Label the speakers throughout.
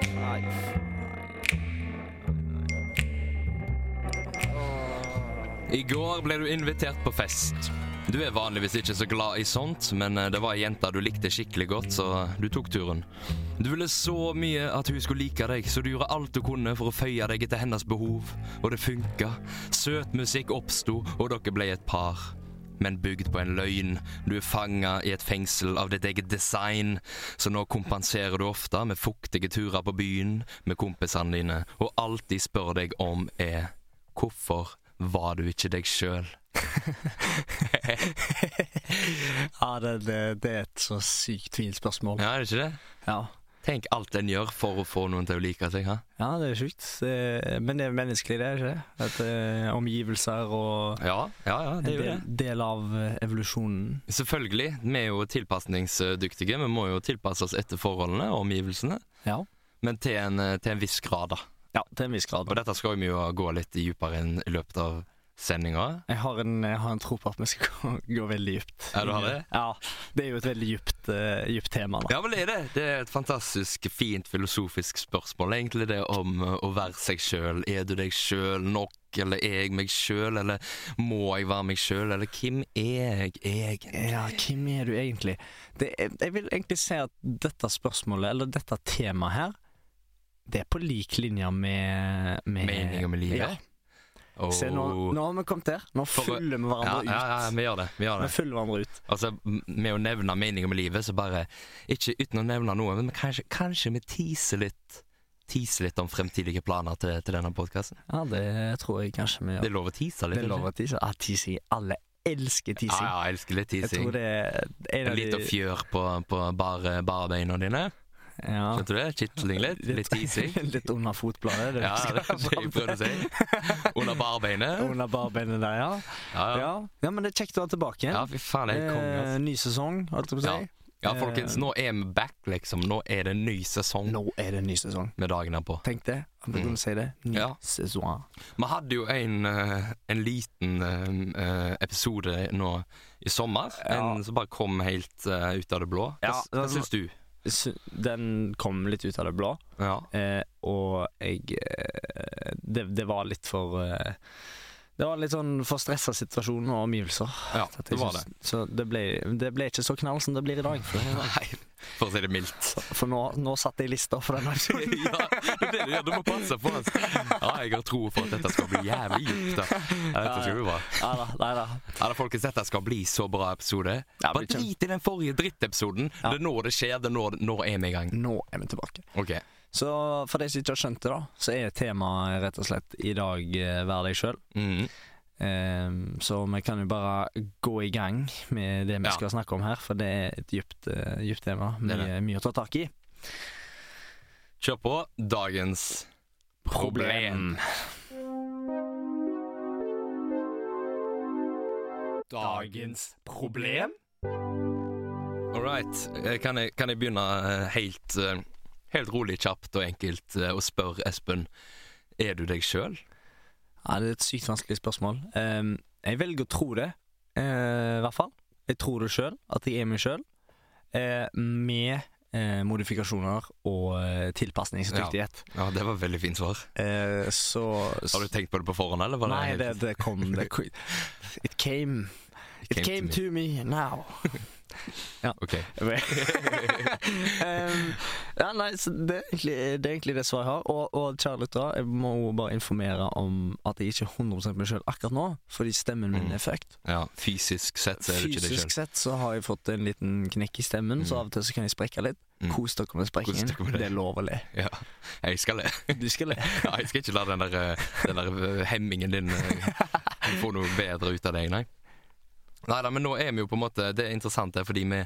Speaker 1: life.
Speaker 2: I går ble du invitert på fest. Du er vanligvis ikke så glad i sånt, men eh, det var ei jente du likte skikkelig godt, så du tok turen. Du ville så mye at hun skulle like deg, så du gjorde alt du kunne for å føye deg etter hennes behov, og det funka. Søt musikk oppsto, og dere ble et par. Men bygd på en løgn. Du er fanga i et fengsel av ditt eget design, så nå kompenserer du ofte med fuktige turer på byen med kompisene dine, og alt de spør deg om er Hvorfor var du ikke deg sjøl?
Speaker 1: Ja, det, det, det er et så sykt fint spørsmål.
Speaker 2: Ja, er det ikke det?
Speaker 1: Ja.
Speaker 2: Tenk alt en gjør for å få noen til å like seg. ha?
Speaker 1: ja, det er sjukt. Det- Men det er menneskelig, det, er ikke det? At eh, omgivelser og
Speaker 2: Ja, ja, ja, det
Speaker 1: en
Speaker 2: er jo det.
Speaker 1: del, del av eh, evolusjonen.
Speaker 2: Selvfølgelig. Vi er jo tilpasningsdyktige. Vi må jo tilpasse oss etter forholdene og omgivelsene.
Speaker 1: Ja.
Speaker 2: Men til en, til en viss grad, da.
Speaker 1: ja, til en viss grad.
Speaker 2: Og dette skal vi jo gå litt dypere inn i løpet av sendinga.
Speaker 1: Jeg har, en, jeg har en tro på at vi skal gå, gå veldig dypt.
Speaker 2: Ja, du har det?
Speaker 1: Ja, det er jo et veldig dypt, eh, dypt tema. da.
Speaker 2: Ja, vel er det. Det er et fantastisk fint filosofisk spørsmål, egentlig, det om eh, å være seg sjøl. Er du deg sjøl nok, eller er jeg meg sjøl, eller må jeg være meg sjøl, eller hvem er jeg egentlig?
Speaker 1: Ja, hvem er du egentlig? Det, er- jeg vil egentlig si at dette spørsmålet, eller dette temaet her, det er på lik linje med, med
Speaker 2: Meninga med livet?
Speaker 1: Ja.
Speaker 2: Åh.
Speaker 1: Se, nå, nå har vi kommet der. Nå
Speaker 2: For-
Speaker 1: fyller vi
Speaker 2: ja,
Speaker 1: hverandre
Speaker 2: ja, ja,
Speaker 1: ut.
Speaker 2: vi gjør det. Vi gjør
Speaker 1: Vi
Speaker 2: det.
Speaker 1: fyller hverandre ut.
Speaker 2: Altså, m- Med å nevne meninga med livet, så bare Ikke uten å nevne noe, men kanskje, kanskje vi teaser litt Teaser litt om fremtidige planer til, til denne podkasten.
Speaker 1: Ja, det tror jeg kanskje vi
Speaker 2: Det
Speaker 1: gjør.
Speaker 2: er lov å tease litt?
Speaker 1: Det er lov å tise. Ja, teasing. Alle elsker
Speaker 2: ikke? Ja,
Speaker 1: teasing.
Speaker 2: ja, jeg elsker litt
Speaker 1: Jeg
Speaker 2: teasing.
Speaker 1: tror det er en
Speaker 2: En
Speaker 1: av
Speaker 2: liten
Speaker 1: de
Speaker 2: fjør på, på bare, bare beina dine.
Speaker 1: ja.
Speaker 2: Skjønte du det? Kitling litt. Litt teasing.
Speaker 1: litt under fotbladet. det
Speaker 2: Ja,
Speaker 1: skal
Speaker 2: det er det
Speaker 1: være
Speaker 2: jeg prøvde å si. Under barbeinet.
Speaker 1: Under barbeinet der, ja.
Speaker 2: Ja, ja.
Speaker 1: ja. Ja, men det er kjekt å være tilbake
Speaker 2: ja,
Speaker 1: igjen.
Speaker 2: fy faen, det er konge.
Speaker 1: Eh,
Speaker 2: Altså.
Speaker 1: ny sesong, holdt jeg på å si.
Speaker 2: Ja, folkens, nå er vi back, liksom. Nå er det en ny sesong
Speaker 1: Eh, Nå er det en ny sesong.
Speaker 2: med dagen herpå.
Speaker 1: Tenk det. At vi
Speaker 2: Mm.
Speaker 1: kunne si det. Ny
Speaker 2: Ja.
Speaker 1: sesong.
Speaker 2: Vi hadde jo en, eh, en liten eh, eh, episode nå i sommer,
Speaker 1: Ja.
Speaker 2: en som bare kom helt eh, ut av det blå. Hva,
Speaker 1: Ja,
Speaker 2: hva
Speaker 1: det-
Speaker 2: syns du?
Speaker 1: S- Den kom litt ut av det blå,
Speaker 2: Ja.
Speaker 1: eh, og jeg eh, det, det var litt for eh, Det var en litt sånn for stressa situasjon og omgivelser.
Speaker 2: ja,
Speaker 1: At jeg
Speaker 2: det var det.
Speaker 1: syns- Så det ble, det ble ikke så knall som det blir i dag. For,
Speaker 2: Nei, for å si det mildt.
Speaker 1: for nå, nå satte jeg lista for den episoden.
Speaker 2: ja, det er det du gjør. Du må passe på oss. Ja, jeg har tro for at dette skal bli jævlig dypt. da. Ja, dette skal bli bra.
Speaker 1: Ja da, nei da.
Speaker 2: Ja, da, folkens, dette skal bli så bra episode.
Speaker 1: Ja,
Speaker 2: Bare
Speaker 1: det blir kjem-
Speaker 2: drit i den forrige drittepisoden.
Speaker 1: Ja.
Speaker 2: Det er nå det skjer. Det er nå, nå er vi i gang.
Speaker 1: Nå er vi tilbake.
Speaker 2: Ok.
Speaker 1: Så for de som ikke har skjønt det, da, så er temaet rett og slett i dag eh, vær deg sjøl.
Speaker 2: Mm.
Speaker 1: Ehm, så vi kan jo bare gå i gang med det vi
Speaker 2: Ja.
Speaker 1: skal snakke om her, for det er et dypt, eh, dypt tema.
Speaker 2: Det er
Speaker 1: Mye, mye å ta tak i.
Speaker 2: Kjør på. Dagens problem.
Speaker 1: Dagens problem?
Speaker 2: All right. Eh, Kan jeg, kan jeg begynne eh, helt, eh, helt rolig, kjapt og enkelt eh, og spørre Espen Er du deg sjøl?
Speaker 1: Ja, det er et sykt vanskelig spørsmål. Ehm, jeg velger å tro det, eh, i hvert fall. Jeg tror det sjøl, at jeg er meg sjøl. med eh, modifikasjoner og eh, tilpasningsdyktighet.
Speaker 2: Ja, det var veldig fint svar.
Speaker 1: Eh, så
Speaker 2: Har du tenkt på det på forhånd, eller? Var
Speaker 1: Nei,
Speaker 2: helt-
Speaker 1: det, det kom det, ko- It came It came to me now.
Speaker 2: Ok.
Speaker 1: Ehm, ja, nei, så det, er egentlig, det er egentlig det svaret jeg har. Og, og kjære lyttere, jeg må jo bare informere om at jeg ikke er 100 meg sjøl akkurat nå, fordi stemmen min
Speaker 2: Mm.
Speaker 1: er fucked.
Speaker 2: Ja, fysisk sett så er du ikke deg
Speaker 1: Fysisk
Speaker 2: sjøl.
Speaker 1: sett så har jeg fått en liten knekk i stemmen,
Speaker 2: Mm.
Speaker 1: så av og til så kan jeg sprekke litt.
Speaker 2: Mm.
Speaker 1: Kos dere med
Speaker 2: Kos
Speaker 1: sprekkingen.
Speaker 2: dere med det.
Speaker 1: Det er lov å le.
Speaker 2: Ja. Jeg skal le.
Speaker 1: Du skal le.
Speaker 2: Ja, jeg skal ikke la den der, eh, den der eh, hemmingen din eh, få noe bedre ut av deg, nei. Nei da, men nå er vi jo på en måte Det er interessant, det, fordi vi,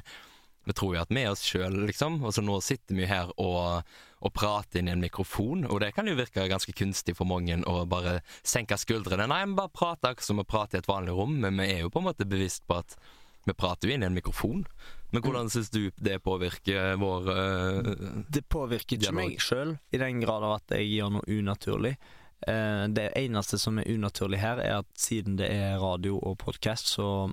Speaker 2: vi tror jo at vi er oss sjøl, liksom. Og så nå sitter vi her og, og prater inn i en mikrofon, og det kan jo virke ganske kunstig for mange å bare senke skuldrene. Nei, vi bare prater akkurat som vi prater i et vanlig rom, men vi er jo på en måte bevisst på at vi prater jo inn i en mikrofon. Men hvordan
Speaker 1: Mm.
Speaker 2: syns du det påvirker vår eh,
Speaker 1: Det påvirker ikke
Speaker 2: Dialog.
Speaker 1: meg sjøl, i den grad av at jeg gjør noe unaturlig. Eh, det eneste som er unaturlig her, er at siden det er radio og podkast, så,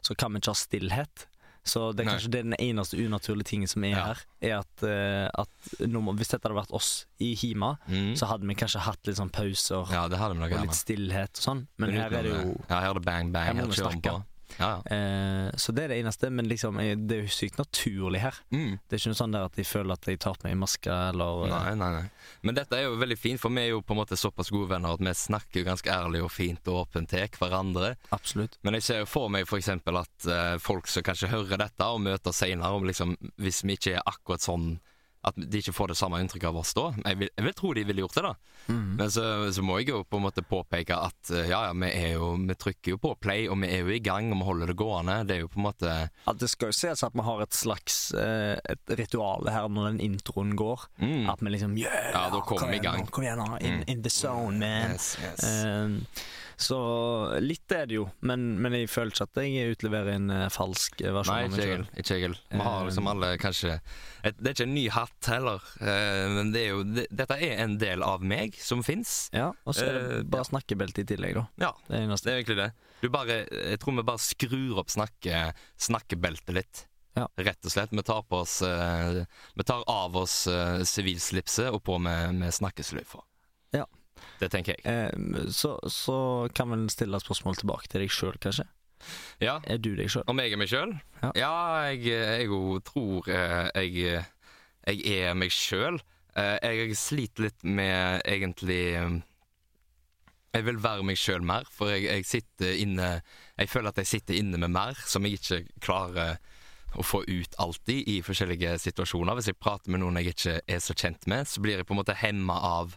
Speaker 1: så kan vi ikke ha stillhet. Så det er
Speaker 2: Nei.
Speaker 1: kanskje det er den eneste unaturlige tingen som er
Speaker 2: Ja.
Speaker 1: her, er at, eh, at nå må- hvis dette hadde vært oss i Hima,
Speaker 2: Mm.
Speaker 1: så hadde vi kanskje hatt litt sånn pauser
Speaker 2: Ja, det hadde vi nok
Speaker 1: og
Speaker 2: gjerne.
Speaker 1: litt stillhet og sånn, men her er det
Speaker 2: utenom
Speaker 1: jo
Speaker 2: Ja, her er det bang, bang.
Speaker 1: Her må
Speaker 2: Her
Speaker 1: vi
Speaker 2: kjører vi på.
Speaker 1: snakke.
Speaker 2: Ja, ja.
Speaker 1: eh, Så det er det eneste, men liksom, eh, det er jo sykt naturlig her.
Speaker 2: Mm.
Speaker 1: Det er ikke noe sånn der at jeg føler at jeg tar på meg maske eller eh,
Speaker 2: Nei, nei, nei. Men dette er jo veldig fint, for vi er jo på en måte såpass gode venner at vi snakker jo ganske ærlig og fint og åpent til hverandre.
Speaker 1: Absolutt.
Speaker 2: Men jeg ser jo for meg f.eks. at eh, folk som kanskje hører dette og møter seinere, om liksom, hvis vi ikke er akkurat sånn at de ikke får det samme inntrykket av oss da. Jeg vil, jeg vil tro de ville gjort det, da.
Speaker 1: Mhm.
Speaker 2: Men så, så må jeg jo på en måte påpeke at eh, ja, ja, vi er jo Vi trykker jo på play, og vi er jo i gang, og vi holder det gående. Det er jo på en måte
Speaker 1: At det skal jo ses at vi har et slags eh, et ritual her når den introen går.
Speaker 2: mm,
Speaker 1: At vi liksom yeah,
Speaker 2: Ja, da kommer
Speaker 1: kom
Speaker 2: vi i
Speaker 1: igjen nå,
Speaker 2: gang.
Speaker 1: Kom igjen, nå. In,
Speaker 2: Mm.
Speaker 1: in the zone, man.
Speaker 2: yes, yes.
Speaker 1: Eh, så litt er det jo, men, men jeg føler ikke at jeg utleverer en eh, falsk eh, versjon
Speaker 2: Nei,
Speaker 1: av
Speaker 2: ikke
Speaker 1: meg
Speaker 2: Egil.
Speaker 1: sjøl.
Speaker 2: Ikke Egil. Vi har liksom alle kanskje et, Det er ikke en ny hatt heller, eh, men det er jo, det, dette er en del av meg som fins.
Speaker 1: Ja, og så er
Speaker 2: Eh,
Speaker 1: det bare snakkebelte i tillegg, da.
Speaker 2: Ja,
Speaker 1: Det er det eneste.
Speaker 2: det er egentlig det. Du bare, jeg tror vi bare skrur opp snakke, snakkebeltet litt.
Speaker 1: Ja.
Speaker 2: Rett og slett. Vi tar, på oss, eh, vi tar av oss eh, sivilslipset og på med, med snakkesløyfa.
Speaker 1: Ja.
Speaker 2: Det tenker jeg.
Speaker 1: Eh, så, så kan vi stille et spørsmål tilbake til deg sjøl, kanskje.
Speaker 2: Ja,
Speaker 1: Er du deg sjøl?
Speaker 2: Om jeg er meg sjøl?
Speaker 1: Ja.
Speaker 2: Ja. jeg, jeg jo tror eh, jeg, jeg er meg sjøl. Jeg sliter litt med egentlig eh, Jeg vil være meg sjøl mer, for jeg, jeg sitter inne Jeg føler at jeg sitter inne med mer som jeg ikke klarer å få ut alltid i forskjellige situasjoner. Hvis jeg prater med noen jeg ikke er så kjent med, så blir jeg på en måte hemma av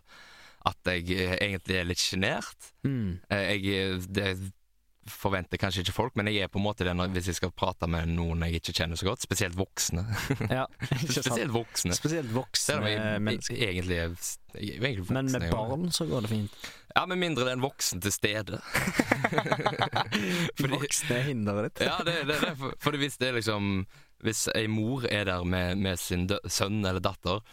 Speaker 2: at jeg eh, egentlig er litt sjenert.
Speaker 1: Mm.
Speaker 2: Eh, Jeg, det forventer kanskje ikke folk, men jeg er på en måte det når, hvis jeg skal prate med noen jeg ikke kjenner så godt. Spesielt voksne.
Speaker 1: Mm. Ja, ikke sant?
Speaker 2: spesielt eh. voksne.
Speaker 1: Spesielt
Speaker 2: Selv om
Speaker 1: voksne
Speaker 2: jeg,
Speaker 1: mennesker.
Speaker 2: jeg, egentlig er, jeg er egentlig voksen.
Speaker 1: Men med
Speaker 2: jeg også.
Speaker 1: barn så går det fint.
Speaker 2: Ja, Med mindre det er en voksen til stede. Fordi,
Speaker 1: Voksne er hinderet ditt.
Speaker 2: ja, det, det, det, for, fordi hvis det er liksom Hvis ei mor er der med, med sin dø sønn eller datter,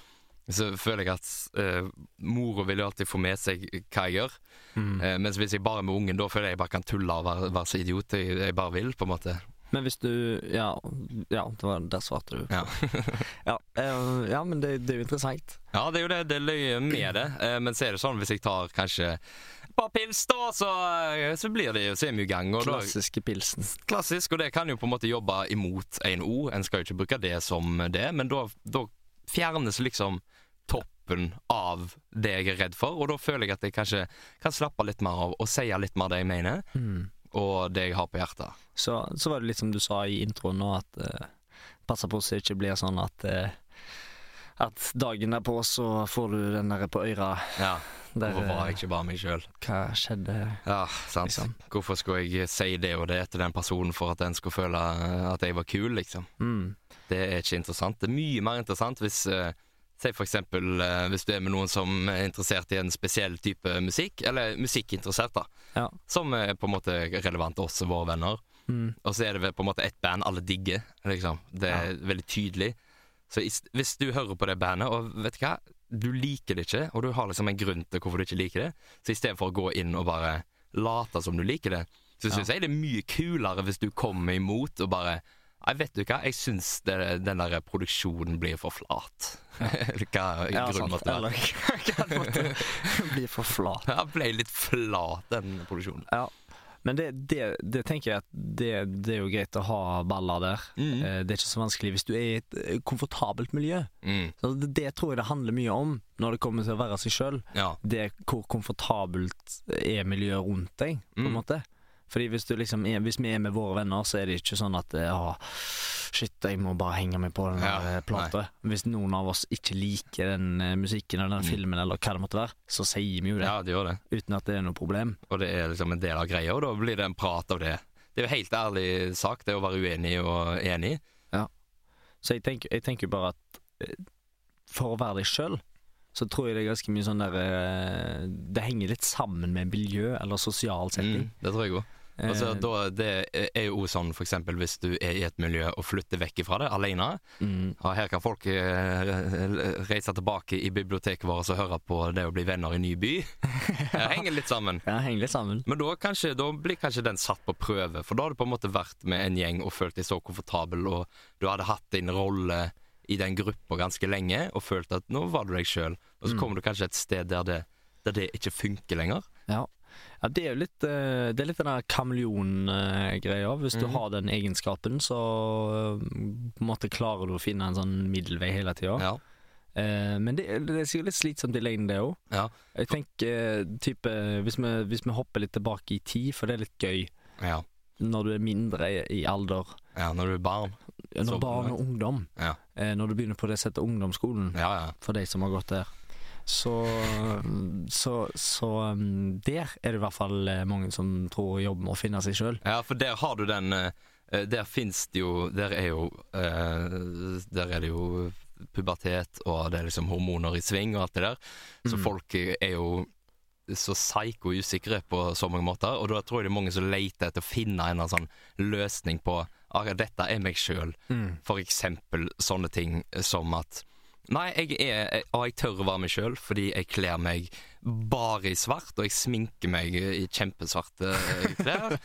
Speaker 2: så føler jeg at eh, mora vil jo alltid få med seg hva jeg gjør.
Speaker 1: Mm.
Speaker 2: Eh, mens hvis jeg bare er med ungen, da føler jeg jeg bare kan tulle og være, være så idiot jeg, jeg bare vil. på en måte
Speaker 1: Men hvis du Ja, ja det var, der svarte du.
Speaker 2: Ja.
Speaker 1: ja, eh, ja men det, det er jo interessant.
Speaker 2: Ja, det er jo det, det er løye med det. Eh, men så er det sånn hvis jeg tar kanskje et par pils, da, så, eh, så blir det jo så er vi i gang. Og da,
Speaker 1: Klassiske pilsen.
Speaker 2: klassisk, og det kan jo på en måte jobbe imot en O. En skal jo ikke bruke det som det, men da, da fjernes liksom toppen av det jeg er redd for, og da føler jeg at jeg kanskje kan slappe litt mer av og si litt mer det jeg mener,
Speaker 1: Mm.
Speaker 2: og det jeg har på hjertet.
Speaker 1: Så, så var det litt som du sa i introen nå, at eh, passe på så det ikke blir sånn at eh, at dagen derpå så får du den der på øyra
Speaker 2: Ja,
Speaker 1: der
Speaker 2: Hvorfor var
Speaker 1: eh,
Speaker 2: jeg ikke bare meg sjøl?
Speaker 1: Hva skjedde?
Speaker 2: Ja, sant.
Speaker 1: Liksom.
Speaker 2: Hvorfor skulle jeg si det og det til den personen for at den skulle føle at jeg var kul, liksom?
Speaker 1: Mm.
Speaker 2: Det er ikke interessant. Det er mye mer interessant hvis eh, Si for eksempel eh, hvis du er med noen som er interessert i en spesiell type musikk, eller musikkinteressert, da,
Speaker 1: Ja.
Speaker 2: som er på en måte relevant til oss og våre venner.
Speaker 1: Mm.
Speaker 2: Og så er det vel på en måte ett band alle digger, liksom. Det er veldig tydelig. Så is- hvis du hører på det bandet, og vet du hva, du liker det ikke, og du har liksom en grunn til hvorfor du ikke liker det, så i stedet for å gå inn og bare late som du liker det, så
Speaker 1: Ja.
Speaker 2: syns jeg det er mye kulere hvis du kommer imot og bare Nei, vet du hva, jeg syns det- den der produksjonen blir for flat. Eller hva
Speaker 1: Ja,
Speaker 2: grunnen
Speaker 1: sant.
Speaker 2: måtte være.
Speaker 1: Eller hva det måtte bli for flat.
Speaker 2: Den ble litt flat, den produksjonen.
Speaker 1: Men det, det, det tenker jeg at det, det er jo greit å ha baller der.
Speaker 2: Mm.
Speaker 1: Eh, Det er ikke så vanskelig hvis du er i et eh, komfortabelt miljø.
Speaker 2: Mm.
Speaker 1: Så det, det tror jeg det handler mye om når det kommer til å være seg sjøl.
Speaker 2: Ja.
Speaker 1: Det er hvor komfortabelt er miljøet rundt deg, på en
Speaker 2: Mm.
Speaker 1: måte. Fordi hvis, du liksom er, hvis vi er med våre venner, så er det ikke sånn at eh, «Åh, Shit, jeg må bare henge meg på den
Speaker 2: Ja,
Speaker 1: der eh, plata. Hvis noen av oss ikke liker den eh, musikken eller den
Speaker 2: Mm.
Speaker 1: filmen eller hva det måtte være, så sier vi jo det
Speaker 2: ja, det gjør det.
Speaker 1: uten at det er noe problem.
Speaker 2: og det er liksom en del av greia, og da blir det en prat av det. Det er jo helt ærlig sak, det å være uenig og enig.
Speaker 1: Så jeg tenker, jeg tenker bare at eh, for å være deg sjøl, så tror jeg det er ganske mye sånn der eh, Det henger litt sammen med miljø eller sosial setting.
Speaker 2: Mm, det tror jeg òg. Altså,
Speaker 1: Eh,
Speaker 2: da, det er jo også sånn for eksempel hvis du er i et miljø og flytter vekk ifra det alene.
Speaker 1: mm,
Speaker 2: Ja, her kan folk eh, re- reise tilbake i biblioteket vårt og høre på det å bli venner i ny by. Det henger litt sammen.
Speaker 1: ja, henger litt sammen.
Speaker 2: Men da, kanskje, da blir kanskje den satt på prøve, for da har du på en måte vært med en gjeng og følt deg så komfortabel, og du hadde hatt din rolle i den gruppa ganske lenge og følt at nå var du deg sjøl. Og så
Speaker 1: Mm.
Speaker 2: kommer du kanskje et sted der det, der det ikke funker lenger.
Speaker 1: Ja, det er jo litt eh, Det er litt den der kameleon-greia. Hvis du
Speaker 2: Mhm.
Speaker 1: har den egenskapen, så eh, på en måte klarer du å finne en sånn middelvei hele tida.
Speaker 2: Ja.
Speaker 1: Eh, men det, er- det er sikkert litt slitsomt i lengden, det òg.
Speaker 2: Ja.
Speaker 1: Jeg tenker eh, type hvis vi, hvis vi hopper litt tilbake i tid, for det er litt gøy
Speaker 2: Ja.
Speaker 1: når du er mindre i, i alder.
Speaker 2: ja, når du er barn.
Speaker 1: Når
Speaker 2: Så
Speaker 1: barn og
Speaker 2: langt.
Speaker 1: ungdom.
Speaker 2: Ja.
Speaker 1: Eh, når du begynner på det som heter ungdomsskolen,
Speaker 2: Ja, ja.
Speaker 1: for de som har gått der. Så, så, så um, der er det i hvert fall eh, mange som tror jobben må finne seg sjøl.
Speaker 2: Ja, for der har du den eh, eh, Der fins det jo Der er jo eh, Der er det jo pubertet, og det er liksom hormoner i sving og alt det der. Så
Speaker 1: Mm.
Speaker 2: folk er jo så psyko usikre på så mange måter, og da tror jeg det er mange som leter etter å finne en eller annen sånn løsning på «Ah, dette er meg sjøl.
Speaker 1: Mm.
Speaker 2: For eksempel sånne ting som at Nei, jeg er, jeg, og jeg tør å være meg sjøl fordi jeg kler meg bare i svart, og jeg sminker meg i kjempesvarte eh, klær.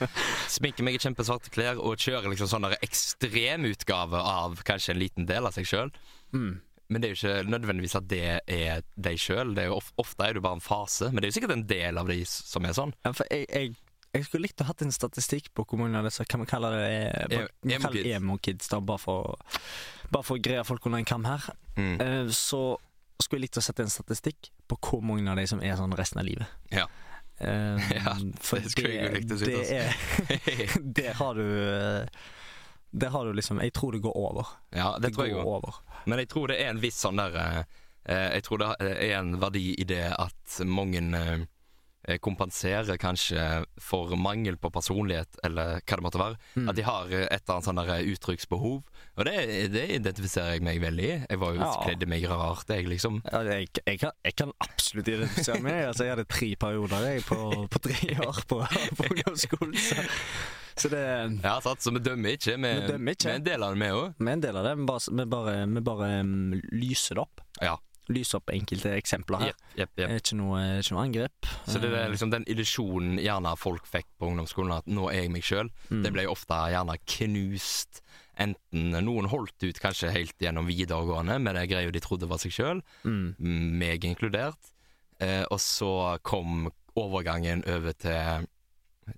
Speaker 2: sminker meg i kjempesvarte klær og kjører liksom sånn der ekstremutgave av kanskje en liten del av seg sjøl.
Speaker 1: Mm.
Speaker 2: Men det er jo ikke nødvendigvis at det er deg sjøl. Of, ofte er det jo bare en fase, men det er jo sikkert en del av de s- som er sånn.
Speaker 1: Ja, for jeg, jeg, jeg skulle likt å hatt en statistikk på hvor mange av disse Kan vi kalle det eh,
Speaker 2: Em-
Speaker 1: vi kaller det
Speaker 2: emo-kids.
Speaker 1: emo-kids, da, bare for, bare for å greie folk under en kam her. Eh, Så skulle jeg likt å sette en statistikk på hvor mange av de som er sånn resten av livet.
Speaker 2: Ja.
Speaker 1: Eh,
Speaker 2: Ja,
Speaker 1: for
Speaker 2: det skulle jeg jo likt å si,
Speaker 1: det
Speaker 2: altså.
Speaker 1: er- Der har du eh, Der har du liksom Jeg tror det går over.
Speaker 2: ja, det tror jeg
Speaker 1: går
Speaker 2: òg.
Speaker 1: over.
Speaker 2: Men jeg tror det er en viss sånn der eh, eh, Jeg tror det er en verdi i det at mange eh, eh, kompenserer kanskje for mangel på personlighet, eller hva det måtte være.
Speaker 1: Mm.
Speaker 2: At de har eh, et eller annet sånn der eh, uttrykksbehov. Og det, det identifiserer jeg meg veldig i. Jeg var jo
Speaker 1: Ja.
Speaker 2: kledde meg rart, jeg, liksom.
Speaker 1: Ja, jeg, jeg, kan, jeg kan absolutt identifisere meg. Altså, jeg hadde tre perioder jeg, på, på tre år på, på ungdomsskolen. Så, så det
Speaker 2: Ja, sant, så vi dømmer ikke. Vi,
Speaker 1: Vi dømmer ikke.
Speaker 2: vi er en del av det, vi òg.
Speaker 1: Vi er en del av det. Vi bare, vi bare, vi bare mm, lyser det opp.
Speaker 2: Ja.
Speaker 1: Lyser opp enkelte eksempler her.
Speaker 2: Jepp, jepp, jepp.
Speaker 1: Det er ikke noe, ikke noe angrep.
Speaker 2: Så det er liksom den illusjonen gjerne folk fikk på ungdomsskolen, at nå er jeg meg sjøl,
Speaker 1: Mm.
Speaker 2: det ble ofte gjerne knust. Enten noen holdt ut kanskje helt gjennom videregående med det greia de trodde var seg sjøl,
Speaker 1: mm.
Speaker 2: meg inkludert, eh, og så kom overgangen over til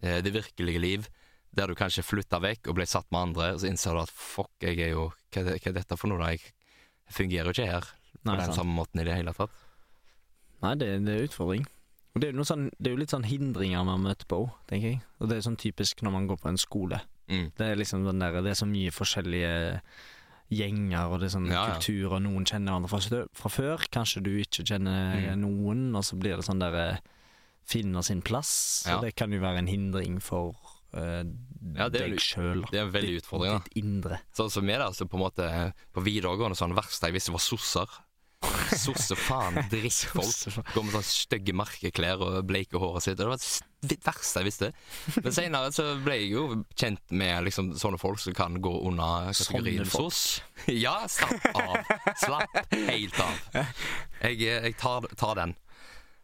Speaker 2: eh, det virkelige liv, der du kanskje flytta vekk og ble satt med andre, og så innså du at fuck, jeg er jo Hva, er det- hva er dette for noe? da? Jeg fungerer jo ikke her på
Speaker 1: Nei,
Speaker 2: den
Speaker 1: sant.
Speaker 2: samme måten i det hele tatt.
Speaker 1: Nei det, det er utfordring. Og det er, jo noe sånn, det er jo litt sånn hindringer man møter på òg, tenker jeg. Og det er sånn typisk når man går på en skole.
Speaker 2: Mm.
Speaker 1: Det er liksom den der, det er så mye forskjellige gjenger, og det er sånn
Speaker 2: Ja, ja.
Speaker 1: kultur, og noen kjenner hverandre fra, stø- fra før. Kanskje du ikke kjenner
Speaker 2: Mm.
Speaker 1: noen, og så blir det sånn der eh, finner sin plass.
Speaker 2: Ja.
Speaker 1: Og det kan jo være en hindring for eh,
Speaker 2: Ja, det er jo-
Speaker 1: deg sjøl.
Speaker 2: Det er en veldig utfordring, da.
Speaker 1: Ditt indre.
Speaker 2: Sånn som jeg da, så på en måte På videregående sånn verst jeg visste var sosser Sosse faen, drittfolk Går med sånn stygge merkeklær og bleike håret sitt og Det var s- det verste jeg visste Men senere så ble jeg jo kjent med liksom, sånne folk som kan gå under
Speaker 1: Sånne
Speaker 2: kategorien
Speaker 1: folk.
Speaker 2: soss Ja, slapp av Slapp helt av Jeg, jeg tar, tar den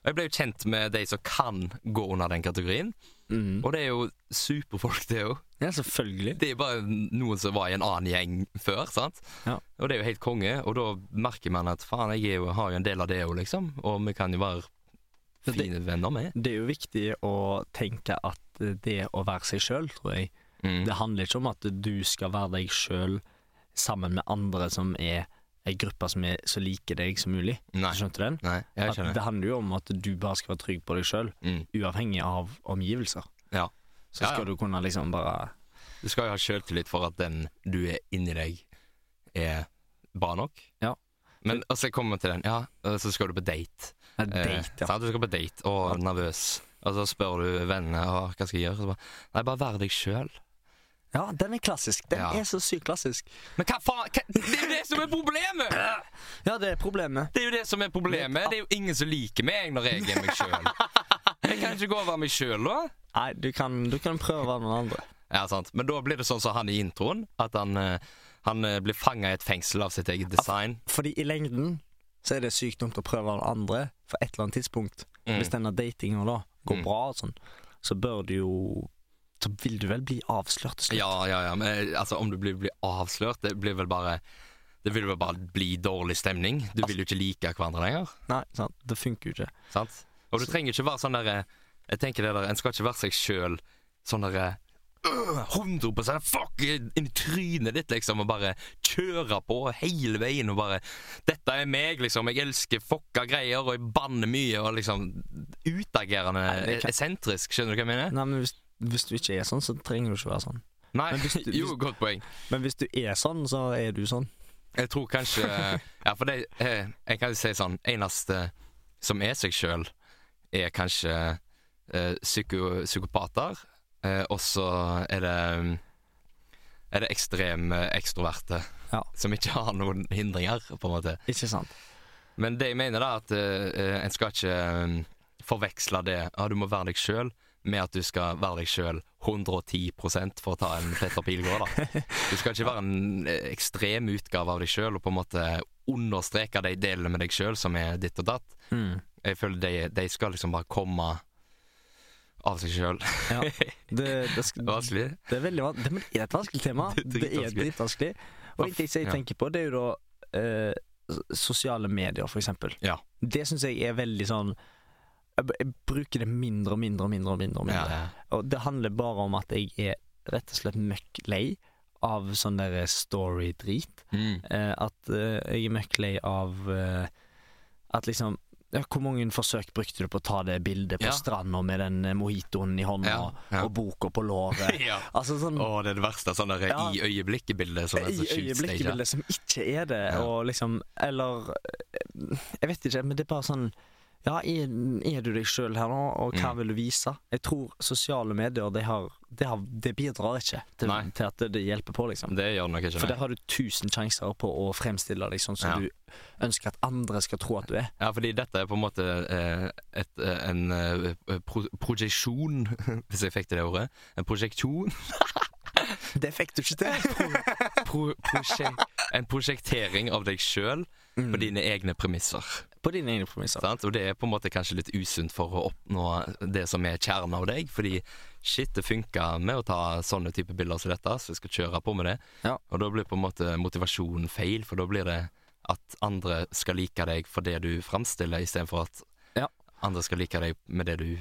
Speaker 2: Jeg ble jo kjent med de som kan gå under den kategorien
Speaker 1: Mm.
Speaker 2: Og det er jo superfolk det jo
Speaker 1: Ja, selvfølgelig.
Speaker 2: det er bare noen som var i en annen gjeng før, sant?
Speaker 1: Ja.
Speaker 2: Og det er jo helt konge, og da merker man at faen, jeg er jo, har jo en del av det òg, liksom. Og vi kan jo være
Speaker 1: Men det-
Speaker 2: fine venner med.
Speaker 1: Det er jo viktig å tenke at eh, det å være seg sjøl, tror jeg,
Speaker 2: Mm.
Speaker 1: Det handler ikke om at du skal være deg sjøl sammen med andre som er ei gruppe som er så like deg som mulig.
Speaker 2: Nei.
Speaker 1: Skjønte du den?
Speaker 2: Nei, jeg
Speaker 1: At
Speaker 2: skjønner.
Speaker 1: det handler jo om at du bare skal være trygg på deg sjøl,
Speaker 2: Mm.
Speaker 1: uavhengig av omgivelser.
Speaker 2: Ja.
Speaker 1: Så
Speaker 2: Ja, ja.
Speaker 1: skal du kunne liksom bare
Speaker 2: Du skal jo ha sjøltillit for at den du er inni deg, er bra nok.
Speaker 1: Ja.
Speaker 2: Men altså, jeg kommer til den. Ja, og så skal du på date.
Speaker 1: ja,
Speaker 2: Eh,
Speaker 1: Date, ja.
Speaker 2: sant? Du skal på date og
Speaker 1: Ja.
Speaker 2: nervøs. Og så spør du vennene «Å, hva skal jeg gjøre. Så bare, Nei, bare vær deg sjøl.
Speaker 1: Ja, den er klassisk. Den
Speaker 2: Ja.
Speaker 1: er så sykt klassisk.
Speaker 2: Men hva faen? Hva? Det er jo det som er problemet!
Speaker 1: Ja, det er problemet.
Speaker 2: Det er jo det som er problemet. Det er jo ingen som liker meg når jeg er meg sjøl. Jeg kan ikke gå og være meg sjøl, da.
Speaker 1: Nei, du kan, du kan prøve å være noen andre.
Speaker 2: Ja, sant. Men da blir det sånn som han i introen, at han, eh, han eh, blir fanga i et fengsel av sitt eget design.
Speaker 1: Fordi i lengden så er det sykt dumt å prøve å være noen andre for et eller annet tidspunkt.
Speaker 2: Mm.
Speaker 1: Hvis denne datinga da går
Speaker 2: Mm.
Speaker 1: bra og sånn, så bør du jo Så vil du vel bli avslørt til slutt.
Speaker 2: Ja, ja, ja. Men eh, altså, om du blir, blir avslørt, det blir vel bare Det vil vel bare bli dårlig stemning. Du vil jo ikke like hverandre lenger.
Speaker 1: Nei, sant? det funker jo ikke.
Speaker 2: Sant? Og du trenger ikke være sånn der eh, Jeg tenker det der, En skal ikke være seg sjøl sånn der eh, øh, 100 fuck inn i trynet ditt, liksom, og bare kjøre på hele veien og bare 'Dette er meg, liksom. Jeg elsker fucka greier, og jeg banner mye', og liksom Utagerende,
Speaker 1: Nei, det kan-
Speaker 2: esentrisk. Skjønner du hva jeg mener?
Speaker 1: Nei, men hvis, hvis du ikke er sånn, så trenger du ikke være sånn.
Speaker 2: Nei,
Speaker 1: Men hvis du-
Speaker 2: jo, godt poeng.
Speaker 1: Men hvis du er sånn, så er du sånn.
Speaker 2: Jeg tror kanskje Ja, for det eh, Jeg kan jo si sånn Eneste som er seg sjøl, er kanskje eh, psyko, psykopater. Eh, og så er det mm, Er det ekstreme ekstroverte
Speaker 1: Ja.
Speaker 2: som ikke har noen hindringer, på en måte.
Speaker 1: Ikke sant?
Speaker 2: Men det jeg mener, da, at eh, eh, en skal ikke mm, forveksle det Ja, du må være deg sjøl. Med at du skal være deg sjøl 110 for å ta en Petter Pilgaard, da. Du skal ikke være en eh, ekstrem utgave av deg sjøl og på en måte understreke de delene med deg sjøl som er ditt og datt.
Speaker 1: Mm.
Speaker 2: Jeg føler de, de skal liksom bare komme av seg sjøl.
Speaker 1: Det, det, sk-
Speaker 2: Vanskelig.
Speaker 1: det er veldig van- det, men det er et vanskelig tema.
Speaker 2: Det er
Speaker 1: Det er
Speaker 2: dritvanskelig.
Speaker 1: dritvanskelig. Og en ting som jeg
Speaker 2: Ja.
Speaker 1: tenker på, det er jo da eh, s- sosiale medier, for eksempel.
Speaker 2: Ja.
Speaker 1: Det syns jeg er veldig sånn jeg, b- jeg bruker det mindre og mindre og mindre. Og mindre.
Speaker 2: Ja, ja.
Speaker 1: Og det handler bare om at jeg er rett og slett møkk lei av sånn der story-drit.
Speaker 2: Mm.
Speaker 1: Eh, at eh, jeg er møkk lei av eh, at liksom ja, Hvor mange forsøk brukte du på å ta det bildet på
Speaker 2: Ja.
Speaker 1: stranda med den eh, mojitoen i hånda
Speaker 2: Ja, ja.
Speaker 1: og boka på låret?
Speaker 2: ja.
Speaker 1: altså sånn
Speaker 2: Å, det er det verste. Sånn der
Speaker 1: Ja.
Speaker 2: i øyeblikket-bildet som er
Speaker 1: i
Speaker 2: så sjukt staged.
Speaker 1: øyeblikket-bildet som ikke er det,
Speaker 2: sånn Ja.
Speaker 1: og liksom Eller eh, Jeg vet ikke, men det er bare sånn Ja, er, er du deg sjøl her nå, og hva
Speaker 2: Mm.
Speaker 1: vil du vise? Jeg tror sosiale medier, det, har, det, har, det bidrar ikke til,
Speaker 2: Nei.
Speaker 1: til at det, det hjelper på, liksom.
Speaker 2: Det gjør det nok ikke.
Speaker 1: For
Speaker 2: nei.
Speaker 1: der har du tusen sjanser på å fremstille deg sånn som
Speaker 2: Ja.
Speaker 1: du ønsker at andre skal tro at du er.
Speaker 2: Ja, fordi dette er på en måte eh, et, eh, en eh, pro projeksjon, hvis jeg fikk til det ordet. En projeksjon.
Speaker 1: Det fikk du ikke til!
Speaker 2: Pro prosjek en prosjektering av deg sjøl på dine egne premisser.
Speaker 1: På dine egne premisser.
Speaker 2: Sant? Og det er på en måte kanskje litt usunt for å oppnå det som er kjernen av deg, fordi shit, det funka med å ta sånne type bilder som dette, så jeg skal kjøre på med det.
Speaker 1: Ja.
Speaker 2: Og da blir på en måte motivasjonen feil, for da blir det at andre skal like deg for det du framstiller, istedenfor at
Speaker 1: Ja.
Speaker 2: andre skal like deg med det du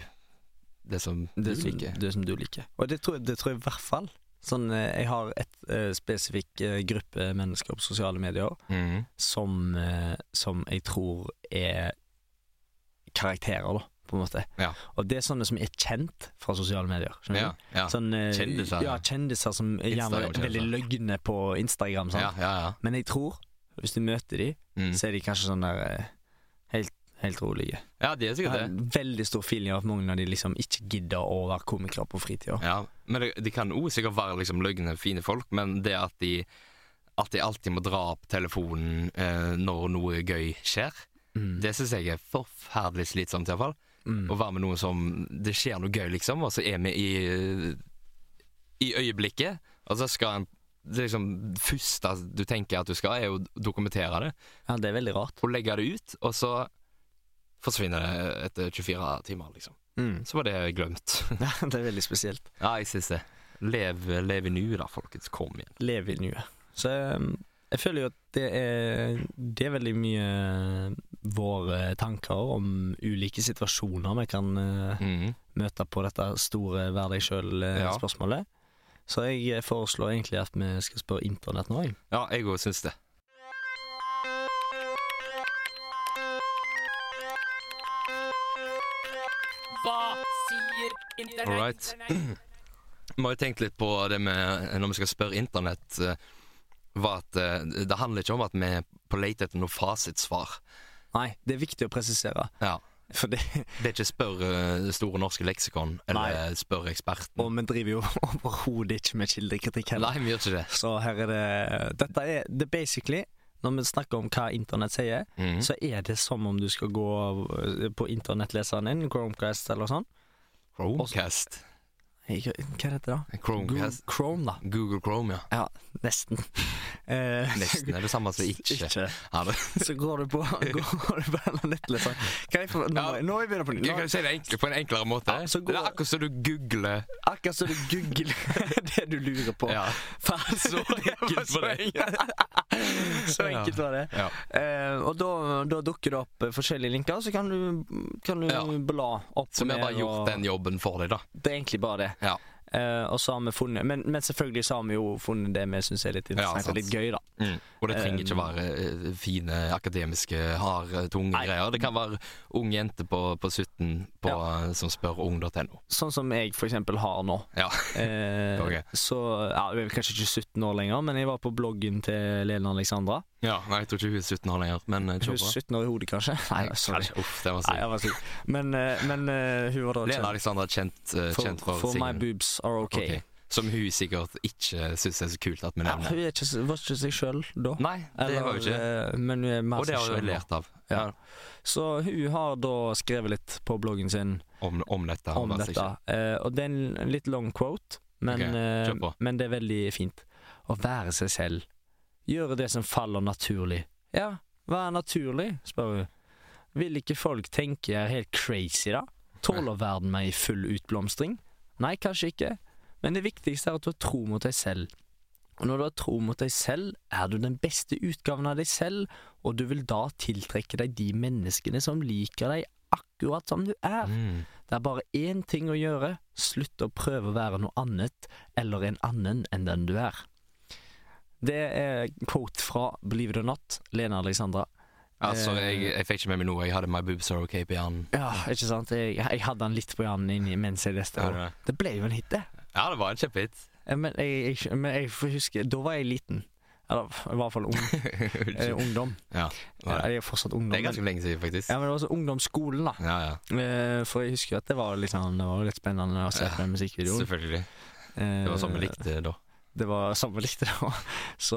Speaker 2: Det som
Speaker 1: Det
Speaker 2: du
Speaker 1: som,
Speaker 2: liker.
Speaker 1: det som du liker. Og det tror, jeg- det tror jeg i hvert fall. Sånn, eh, jeg har et eh, spesifikk eh, gruppe mennesker på sosiale medier
Speaker 2: Mhm.
Speaker 1: som, eh, som jeg tror er karakterer, da, på en måte.
Speaker 2: Ja.
Speaker 1: Og det er sånne som er kjent fra sosiale medier. skjønner
Speaker 2: Ja,
Speaker 1: du?
Speaker 2: ja.
Speaker 1: Sånn, eh,
Speaker 2: Kjendiser.
Speaker 1: Ja, kjendiser som er gjerne
Speaker 2: Instagram-kjendiser.
Speaker 1: veldig løgne på Instagram. Sant?
Speaker 2: ja, ja, ja.
Speaker 1: Men jeg tror, hvis du møter de,
Speaker 2: Mm.
Speaker 1: så er de kanskje sånn der eh, helt, helt rolige.
Speaker 2: ja, de er
Speaker 1: Jeg
Speaker 2: sikkert
Speaker 1: har
Speaker 2: det.
Speaker 1: en veldig stor feeling av at mange av de liksom ikke gidder å være komikere på fritida.
Speaker 2: Ja, men det, de kan òg sikkert være liksom løgne, fine folk, men det at de, at de alltid må dra opp telefonen eh, når noe gøy skjer,
Speaker 1: Mm.
Speaker 2: det syns jeg er forferdelig slitsomt, iallfall.
Speaker 1: Mm.
Speaker 2: Å være med noen som Det skjer noe gøy, liksom, og så er vi i, i øyeblikket, og så skal en det liksom, første du tenker at du skal, er å dokumentere det
Speaker 1: Ja, det er veldig rart.
Speaker 2: og legge det ut, og så forsvinner det etter 24 timer, liksom.
Speaker 1: Mm.
Speaker 2: Så var det glemt.
Speaker 1: Ja, det er veldig spesielt.
Speaker 2: Ja, jeg syns det. Lev, lev i nuet, da, folkens. Kom igjen.
Speaker 1: leve i nuet. Så um, jeg føler jo at det er, det er veldig mye eh, våre tanker om ulike situasjoner vi kan eh,
Speaker 2: Mhm.
Speaker 1: møte på dette store vær deg
Speaker 2: Ja.
Speaker 1: sjøl-spørsmålet. Så jeg eh, foreslår egentlig at vi skal spørre internett nå, jeg.
Speaker 2: Ja, jeg òg syns det.
Speaker 3: Hva sier internett?
Speaker 2: All right. Vi har jo tenkt litt på det med når vi skal spørre internett, eh, var at eh, det handler ikke om at vi er på leit etter noe fasitsvar.
Speaker 1: Nei, det er viktig å presisere.
Speaker 2: Ja.
Speaker 1: For det,
Speaker 2: Det er ikke spør eh, Store norske leksikon eller spør eksperten.
Speaker 1: og vi driver jo overhodet ikke med kildekritikk heller.
Speaker 2: Nei, vi gjør ikke det.
Speaker 1: Så her er det Dette er det er basically, når vi snakker om hva internett sier,
Speaker 2: Mhm.
Speaker 1: så er det som om du skal gå eh, på internettleseren din, Chromecast eller sånn,
Speaker 2: Chromecast.
Speaker 1: Ikke, hva heter det? da? Google
Speaker 2: Chromecast.
Speaker 1: Chrome, da.
Speaker 2: Google Chrome, ja.
Speaker 1: Nesten. Eh,
Speaker 2: Nesten er det samme som ikke. Ja, det,
Speaker 1: Så går du på, går du på denne nettleseren Kan jeg få, nå, må jeg- nå må jeg begynne på
Speaker 2: jeg kan
Speaker 1: nytt.
Speaker 2: jo si det enkle, på en enklere måte.
Speaker 1: Ja, så går-
Speaker 2: Det er akkurat som du googler
Speaker 1: Nå- Akkurat som du googler det du lurer på.
Speaker 2: ja.
Speaker 1: Faen,
Speaker 2: Så enkelt var det.
Speaker 1: Så enkelt var det.
Speaker 2: Ja.
Speaker 1: Eh, og da, da dukker det opp eh, forskjellige linker, så kan du, kan du
Speaker 2: Ja.
Speaker 1: bla opp
Speaker 2: Så
Speaker 1: og
Speaker 2: vi
Speaker 1: ned.
Speaker 2: har bare
Speaker 1: og-
Speaker 2: gjort den jobben for deg, da.
Speaker 1: Det er egentlig bare det.
Speaker 2: Ja.
Speaker 1: Eh, og så har vi funnet men, men selvfølgelig så har vi jo funnet det vi syns er litt interessant
Speaker 2: sant.
Speaker 1: og litt gøy, da.
Speaker 2: Og det trenger
Speaker 1: Um,
Speaker 2: ikke være eh, fine akademiske, harde, tunge
Speaker 1: Nei.
Speaker 2: greier. Det kan være ung jente på, på 17 på, eh, som spør ung.no.
Speaker 1: Sånn som jeg for eksempel har nå.
Speaker 2: Ja.
Speaker 1: Eh,
Speaker 2: Ok.
Speaker 1: Så ja, Jeg er kanskje ikke 17 år lenger, men jeg var på bloggen til Lelen Alexandra.
Speaker 2: ja. Nei, jeg tror ikke hun er 17 år lenger, men eh,
Speaker 1: Hun
Speaker 2: kjør
Speaker 1: er
Speaker 2: på.
Speaker 1: 17 år i hodet, kanskje. Nei, sorry.
Speaker 2: Nei, Uff, det var
Speaker 1: Nei,
Speaker 2: sykt.
Speaker 1: jeg var syk. Men, eh, men eh, hun var da
Speaker 2: Lena Alexandra er kjent, eh,
Speaker 1: for,
Speaker 2: kjent for,
Speaker 1: for My
Speaker 2: singelen.
Speaker 1: boobs are ok.
Speaker 2: Ok. Som hun sikkert ikke syns er så kult at vi
Speaker 1: Ja,
Speaker 2: nevner.
Speaker 1: hun er ikke, s- var ikke seg sjøl da.
Speaker 2: Nei, det var jo ikke det.
Speaker 1: eh, Men hun er mer
Speaker 2: Og det
Speaker 1: seg
Speaker 2: har hun
Speaker 1: selv nå.
Speaker 2: lært av.
Speaker 1: Ja. Så hun har da skrevet litt på bloggen sin
Speaker 2: Om, om dette.
Speaker 1: om
Speaker 2: altså
Speaker 1: dette.
Speaker 2: ikke.
Speaker 1: Eh, og det er en litt long quote, men,
Speaker 2: Ok,
Speaker 1: eh,
Speaker 2: kjør på.
Speaker 1: men det er veldig fint. Å være seg selv. Gjøre det som faller naturlig. Ja, hva er naturlig, spør hun. Vil ikke folk tenke jeg er helt crazy, da? Tåler verden meg i full utblomstring? Nei, kanskje ikke. Men det viktigste er at du har tro mot deg selv. Og når du har tro mot deg selv, er du den beste utgaven av deg selv, og du vil da tiltrekke deg de menneskene som liker deg akkurat som du er.
Speaker 2: Mm.
Speaker 1: Det er bare én ting å gjøre. Slutt å prøve å være noe annet eller en annen enn den du er. Det er quote fra Believe it or not, Lena Alexandra.
Speaker 2: Altså,
Speaker 1: Eh,
Speaker 2: jeg, jeg fikk ikke med meg noe. Jeg hadde My boobs are okay på hjernen.
Speaker 1: Ja, ikke sant? Jeg, jeg hadde den litt på hjernen inni mens jeg leste.
Speaker 2: Ja,
Speaker 1: den.
Speaker 2: det-
Speaker 1: Det ble jo en hit, det.
Speaker 2: ja, det var en kjempehit.
Speaker 1: Eh, Men jeg, jeg, men jeg får huske, da var jeg liten. Eller i hvert fall ung, eh, ungdom.
Speaker 2: Ja,
Speaker 1: Ja,
Speaker 2: var det.
Speaker 1: jeg er fortsatt ungdom.
Speaker 2: Eh, det er
Speaker 1: men-
Speaker 2: ganske lenge siden, faktisk.
Speaker 1: Ja, men det var så ungdomsskolen, da.
Speaker 2: Ja, ja.
Speaker 1: Eh, For jeg husker jo at det var, liksom, det var jo litt spennende å se på den musikkvideoen.
Speaker 2: Selvfølgelig. Det var
Speaker 1: Eh,
Speaker 2: sånn vi likte da.
Speaker 1: Det var samme likte det òg. Så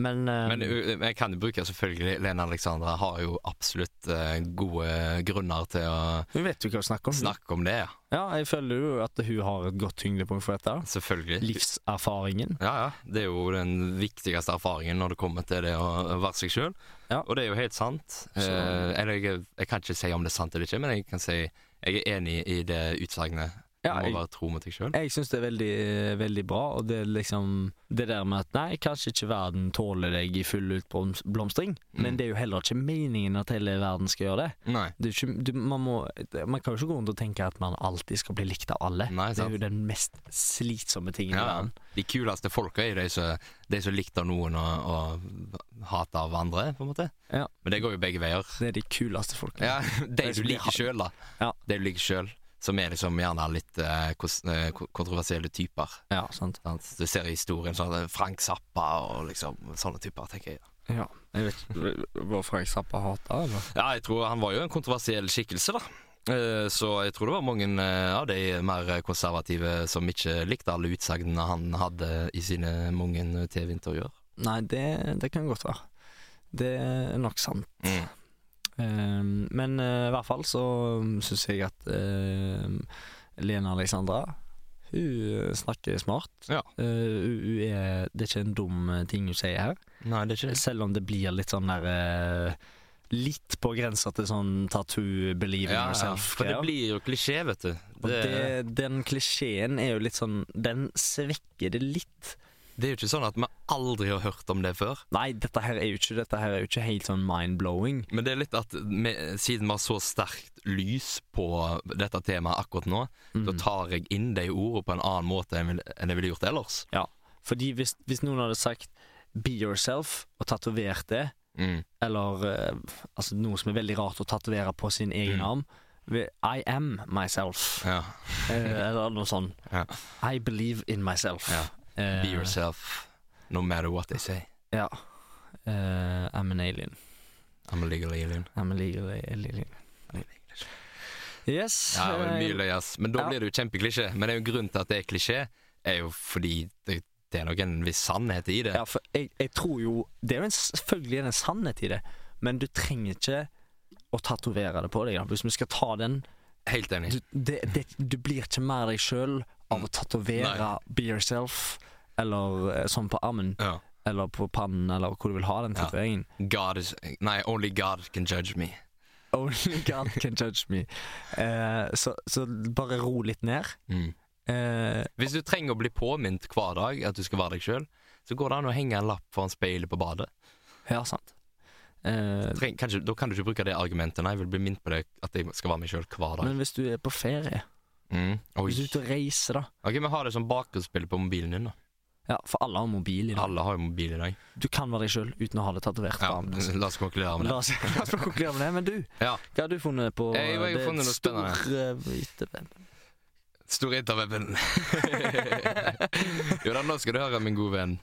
Speaker 1: Men, eh,
Speaker 2: Men uh, jeg kan jo bruke selvfølgelig Lena Alexandra har jo absolutt eh, gode grunner til å
Speaker 1: hun vet jo hva hun snakker om.
Speaker 2: snakke om det, ja.
Speaker 1: Ja, jeg føler jo at hun har et godt tyngdepunkt for dette.
Speaker 2: Selvfølgelig.
Speaker 1: Livserfaringen.
Speaker 2: Ja, ja. Det er jo den viktigste erfaringen når det kommer til det å være seg sjøl.
Speaker 1: Ja.
Speaker 2: Og det er jo helt sant. Eh,
Speaker 1: Så-
Speaker 2: eller jeg, jeg kan ikke si om det er sant eller ikke, men jeg kan si jeg er enig i det utsagnet.
Speaker 1: Ja,
Speaker 2: du må
Speaker 1: jeg
Speaker 2: være tro mot deg sjøl.
Speaker 1: jeg syns det er veldig, veldig bra, og det er liksom det der med at nei, kanskje ikke verden tåler deg i full utblomstring,
Speaker 2: Mm.
Speaker 1: men det er jo heller ikke meningen at hele verden skal gjøre det.
Speaker 2: Nei.
Speaker 1: det er jo ikke, du, man, må, man kan jo ikke gå rundt og tenke at man alltid skal bli likt av alle.
Speaker 2: Nei,
Speaker 1: det er
Speaker 2: Mm, sant.
Speaker 1: jo den mest slitsomme tingen i
Speaker 2: Ja,
Speaker 1: verden.
Speaker 2: de kuleste folka er de som, de som likte noen og, og hater av andre, på en måte.
Speaker 1: Ja.
Speaker 2: Men det går jo begge veier.
Speaker 1: Det er de kuleste folkene.
Speaker 2: Ja, de
Speaker 1: Det
Speaker 2: du
Speaker 1: som blir
Speaker 2: liker sjøl, da.
Speaker 1: Ja.
Speaker 2: De du liker sjøl. Som er liksom gjerne litt eh, kos- eh, ko- kontroversielle typer.
Speaker 1: Ja, sant.
Speaker 2: Sant? Du ser i historien sånn eh, Frank Zappa og liksom sånne typer, tenker jeg.
Speaker 1: Ja, jeg vet ikke Var Frank Zappa hata, eller?
Speaker 2: Ja, jeg tror han var jo en kontroversiell skikkelse, da. Eh, Så jeg tror det var mange eh, av de mer konservative som ikke likte alle utsagnene han hadde i sine mange TV-intervjuer.
Speaker 1: Nei, det, det kan godt være. Det er nok sant.
Speaker 2: Mm.
Speaker 1: Ehm, men eh, i hvert fall så syns jeg at ehm, Lena Alexandra hun eh, snakker smart.
Speaker 2: Ja.
Speaker 1: Eh, hun, hun er, det er ikke en dum eh, ting hun sier her,
Speaker 2: Nei, det er ikke det.
Speaker 1: selv om det blir litt sånn der eh, Litt på grensa til sånn tattoo believing
Speaker 2: Ja, ja,
Speaker 1: yourself.
Speaker 2: for det
Speaker 1: greier.
Speaker 2: blir jo klisjé, vet du.
Speaker 1: Og
Speaker 2: Det, det,
Speaker 1: det, den klisjeen er jo litt sånn Den svekker det litt.
Speaker 2: er jo ikke sånn at vi aldri har hørt om det før.
Speaker 1: Nei, dette her er jo ikke, dette her er jo ikke helt sånn mind-blowing.
Speaker 2: Men det er litt at vi, siden vi har så sterkt lys på dette temaet akkurat nå, da tar jeg inn de ordene på en annen måte enn vil- enn jeg ville gjort ellers.
Speaker 1: Fordi hvis, hvis noen hadde sagt 'be yourself' og tatovert det,
Speaker 2: Mm.
Speaker 1: eller eh, altså noe som er veldig rart å tatovere på sin egen
Speaker 2: Mm.
Speaker 1: arm ved- I am myself,
Speaker 2: Ja.
Speaker 1: eh, eller noe sånt.
Speaker 2: Ja.
Speaker 1: I believe in myself.
Speaker 2: Ja.
Speaker 1: Eh,
Speaker 2: Be yourself, no matter what they say.
Speaker 1: Ja. Eh, I'm an alien.
Speaker 2: I'm a legal alien.
Speaker 1: I'm a legal alien. Yes.
Speaker 2: Ja, men det er
Speaker 1: eh,
Speaker 2: mye løy, ass. Men da
Speaker 1: Ja.
Speaker 2: blir det jo kjempeklisjé. Men det er jo grunnen til at det er klisjé, er jo fordi det, det er nok en viss sannhet i det.
Speaker 1: Ja, for jeg, jeg tror jo Det er jo en, selvfølgelig en sannhet i det, men du trenger ikke å tatovere det på deg. Da. Hvis vi skal ta den
Speaker 2: Helt enig.
Speaker 1: du, det, det, du blir ikke mer deg sjøl av å
Speaker 2: Mm.
Speaker 1: tatovere 'be yourself' eller eh, sånn på armen
Speaker 2: Ja.
Speaker 1: eller på pannen eller hvor du vil ha den
Speaker 2: Ja.
Speaker 1: tatoveringen.
Speaker 2: God is Nei, only God can judge me.
Speaker 1: Only Oh God can judge me. Eh, så, så bare ro litt ned.
Speaker 2: Mm.
Speaker 1: Eh,
Speaker 2: Hvis du trenger å bli påminnet hver dag at du skal være deg sjøl, så går det an å henge en lapp foran speilet på badet.
Speaker 1: ja, sant. Eh,
Speaker 2: Treng, kanskje, da kan du ikke bruke det argumentet. Nei, jeg vil bli minnet på det at jeg skal være meg sjøl hver dag.
Speaker 1: men hvis du er på ferie,
Speaker 2: Mm. Oi.
Speaker 1: hvis du er ute og reiser, da
Speaker 2: Ok, Vi har det som bakgrunnsspill på mobilen din. da
Speaker 1: Ja, for alle har mobil i dag.
Speaker 2: Alle har jo mobil i dag.
Speaker 1: Du kan være deg sjøl uten å ha det tatovert på
Speaker 2: Ja,
Speaker 1: armen. altså.
Speaker 2: La oss konkludere med det.
Speaker 1: La oss la oss bare konkludere med det. Men du,
Speaker 2: Ja.
Speaker 1: hva har du funnet på
Speaker 2: Jeg- jeg har
Speaker 1: det
Speaker 2: funnet noe spennende.
Speaker 1: store hvite-
Speaker 2: Store interweben. jo da, nå skal du høre, min gode venn.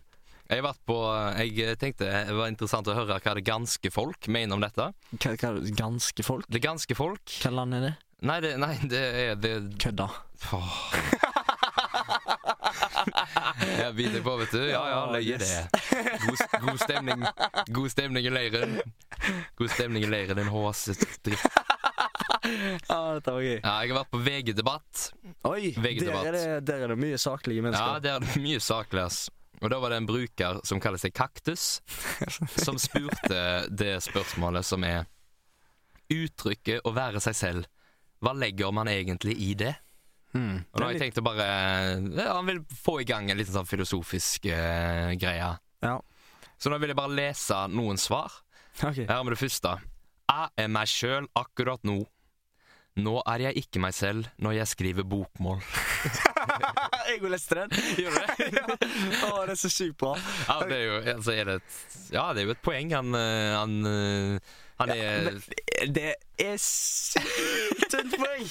Speaker 2: Jeg, har vært på, jeg eh, tenkte det var interessant å høre hva det ganske folk mener om dette.
Speaker 1: Hva, hva, er det? ganske folk?
Speaker 2: Det ganske folk
Speaker 1: Hva land er det?
Speaker 2: Nei, det, nei, det er det,
Speaker 1: Kødda.
Speaker 2: Åh. Jeg biter på, vet du. Ja, ja, løye det. God, god stemning God stemning i leiren. God stemning i leiren, din håset dritt.
Speaker 1: Ja, Ah, dette var gøy.
Speaker 2: Ja, jeg har vært på VG-debatt.
Speaker 1: Oi,
Speaker 2: Veggedebatt.
Speaker 1: der er, det, der er det mye saklige
Speaker 2: Ja,
Speaker 1: mennesker.
Speaker 2: der er det mye saklig, ass. Og da var det en bruker som kaller seg Kaktus, som spurte det spørsmålet som er Uttrykket 'å være seg selv', hva legger man egentlig i det?
Speaker 1: Mm.
Speaker 2: Og da har jeg tenkt å bare ja, Han vil få i gang en liten sånn filosofisk eh, greie.
Speaker 1: Ja.
Speaker 2: Så nå vil jeg bare lese noen svar.
Speaker 1: Ok.
Speaker 2: Her har vi det første. Jeg er meg sjøl akkurat nå. Nå er jeg ikke meg selv når jeg skriver bokmål.
Speaker 1: jeg går leste den. Gjorde du det? Å, det er så sykt bra.
Speaker 2: Ja, det er jo, altså, er det et, ja, det er jo et poeng. Han, eh, han, eh, han er
Speaker 1: Men det er sykt tynt poeng!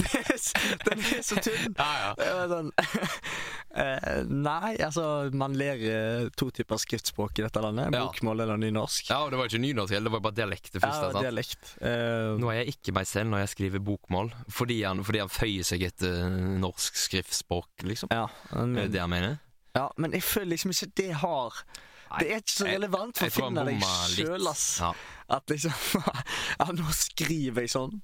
Speaker 1: Det er s- Den er så tynn.
Speaker 2: Ja, ja.
Speaker 1: Det var sånn eh, Nei, altså, man lærer to typer skriftspråk i dette landet.
Speaker 2: Ja.
Speaker 1: Bokmål eller nynorsk.
Speaker 2: ja, og det var ikke nynorsk heller, det var bare dialekt det første.
Speaker 1: Ja,
Speaker 2: sant?
Speaker 1: dialekt. Eh,
Speaker 2: Nå er jeg ikke meg selv når jeg skriver bokmål, fordi han, fordi han føyer seg etter eh, norsk skriftspråk, liksom.
Speaker 1: ja,
Speaker 2: Er
Speaker 1: men,
Speaker 2: det det han mener?
Speaker 1: ja, men jeg føler liksom ikke det har Det er ikke så
Speaker 2: jeg-
Speaker 1: relevant for å
Speaker 2: Jeg tror han
Speaker 1: finne deg
Speaker 2: bomma litt.
Speaker 1: sjøl, ass.
Speaker 2: Ja.
Speaker 1: At liksom Ja, nå skriver jeg sånn.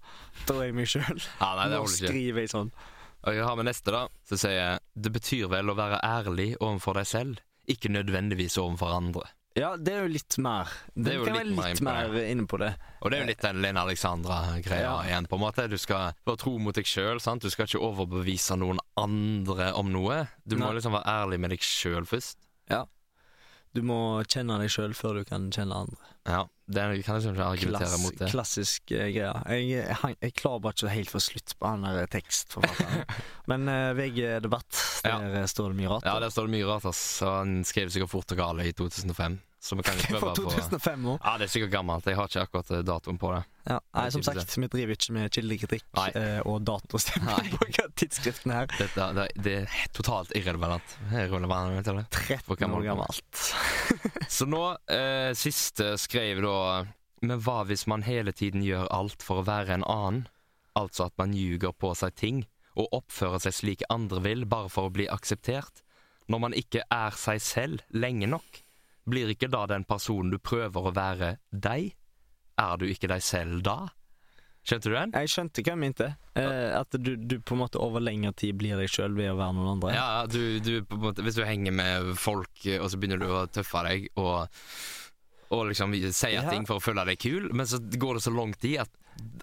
Speaker 1: Da er jeg meg sjøl.
Speaker 2: ja, nei, det
Speaker 1: Nå
Speaker 2: holder ikke.
Speaker 1: skriver jeg sånn.
Speaker 2: Og jeg har med neste, da, som sier Det betyr vel å være ærlig overfor deg selv, ikke nødvendigvis overfor andre.
Speaker 1: Ja, det er jo litt mer. Det
Speaker 2: er jo
Speaker 1: kan
Speaker 2: litt
Speaker 1: være
Speaker 2: mer
Speaker 1: litt
Speaker 2: imponerende.
Speaker 1: mer inne på det.
Speaker 2: Og det er jo litt den Lene Alexandra-greia
Speaker 1: Ja.
Speaker 2: igjen, på en måte. Du skal være tro mot deg sjøl, sant. Du skal ikke overbevise noen andre om noe. Du må
Speaker 1: Nei.
Speaker 2: liksom være ærlig med deg sjøl først.
Speaker 1: Du må kjenne deg sjøl før du kan kjenne andre.
Speaker 2: Ja, det er- jeg kan liksom ikke argumentere
Speaker 1: Klass,
Speaker 2: mot det.
Speaker 1: klassisk eh, greie. Jeg, jeg, hang- jeg klarer bare ikke helt for slutt på han der tekstforfatteren. Men eh, VG Debatt,
Speaker 2: Ja.
Speaker 1: der eh, står det mye rart.
Speaker 2: Ja, der står det mye rart, ass. Og han skrev sikkert fort og gale i 2005. Så vi kan ikke
Speaker 1: For
Speaker 2: prøve på
Speaker 1: 2005 år.
Speaker 2: Ja, det er sikkert gammelt. Jeg har ikke akkurat eh, datoen på det.
Speaker 1: Ja. Nei, som
Speaker 2: typisk
Speaker 1: sagt, vi driver ikke med kildekritikk
Speaker 2: Nei.
Speaker 1: eh, og datostemming på hva tidsskriftene her.
Speaker 2: Dette, det, det er he- totalt irrelevant. Irrelevant, vet du det.
Speaker 1: 13 år gammelt.
Speaker 2: Så nå, eh, siste skrev da Men hva hvis man hele tiden gjør alt for å være en annen? Altså at man ljuger på seg ting, og oppfører seg slik andre vil, bare for å bli akseptert? Når man ikke er seg selv lenge nok, blir ikke da den personen du prøver å være, deg? Er du ikke deg selv da? Skjønte du den?
Speaker 1: Jeg skjønte hva jeg mente. Eh, at du, du på en måte over lengre tid blir deg sjøl ved å være noen andre.
Speaker 2: Ja, ja, du, du, på en måte, hvis du henger med folk, eh, og så begynner du å tøffe deg og, og liksom si
Speaker 1: Ja.
Speaker 2: ting for å føle deg kul, men så går det så lang tid at,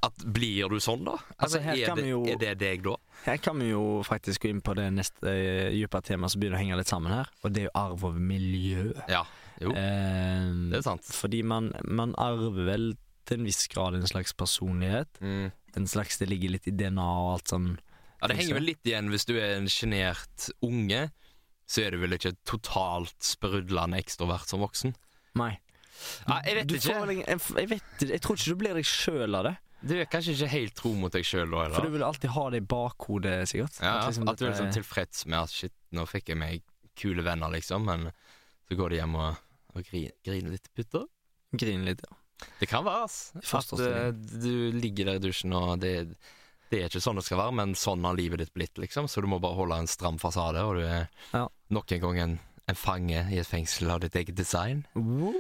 Speaker 2: at blir du sånn, da?
Speaker 1: Altså,
Speaker 2: Altså,
Speaker 1: her
Speaker 2: er,
Speaker 1: kan
Speaker 2: det,
Speaker 1: vi jo-
Speaker 2: er det deg da?
Speaker 1: Her kan vi jo faktisk gå inn på det neste eh, dypere temaet som begynner å henge litt sammen her, og det er jo arv og miljø.
Speaker 2: Ja, jo,
Speaker 1: Ehm,
Speaker 2: det er sant.
Speaker 1: fordi man, man arver vel til en viss grad en slags personlighet.
Speaker 2: Mm.
Speaker 1: En slags Det ligger litt i DNA og alt sånn.
Speaker 2: Ja, det henger vel litt igjen hvis du er en sjenert unge. Så er du vel ikke totalt sprudlende ekstrovert som voksen?
Speaker 1: Nei.
Speaker 2: Nei, jeg vet
Speaker 1: Du
Speaker 2: ikke.
Speaker 1: får vel ingen- jeg, f- jeg, vet, ikke. jeg tror ikke du blir deg sjøl av det.
Speaker 2: Du er kanskje ikke helt tro mot deg sjøl da?
Speaker 1: For
Speaker 2: Eller?
Speaker 1: du vil alltid ha det i bakhodet, sikkert.
Speaker 2: Ja, ja,
Speaker 1: At liksom
Speaker 2: at du er
Speaker 1: dette-
Speaker 2: liksom tilfreds med at shit, nå fikk jeg meg kule venner, liksom, men så går de hjem og, og griner, griner litt, putter.
Speaker 1: Grine eh, litt. ja.
Speaker 2: Det kan være, ass. At eh,
Speaker 1: Fosterstilling.
Speaker 2: du ligger der i dusjen, og det, det er ikke sånn det skal være, men sånn har livet ditt blitt, liksom, så du må bare holde en stram fasade, og du er
Speaker 1: Ja.
Speaker 2: nok en gang en, en fange i et fengsel av ditt eget design.
Speaker 1: Wow,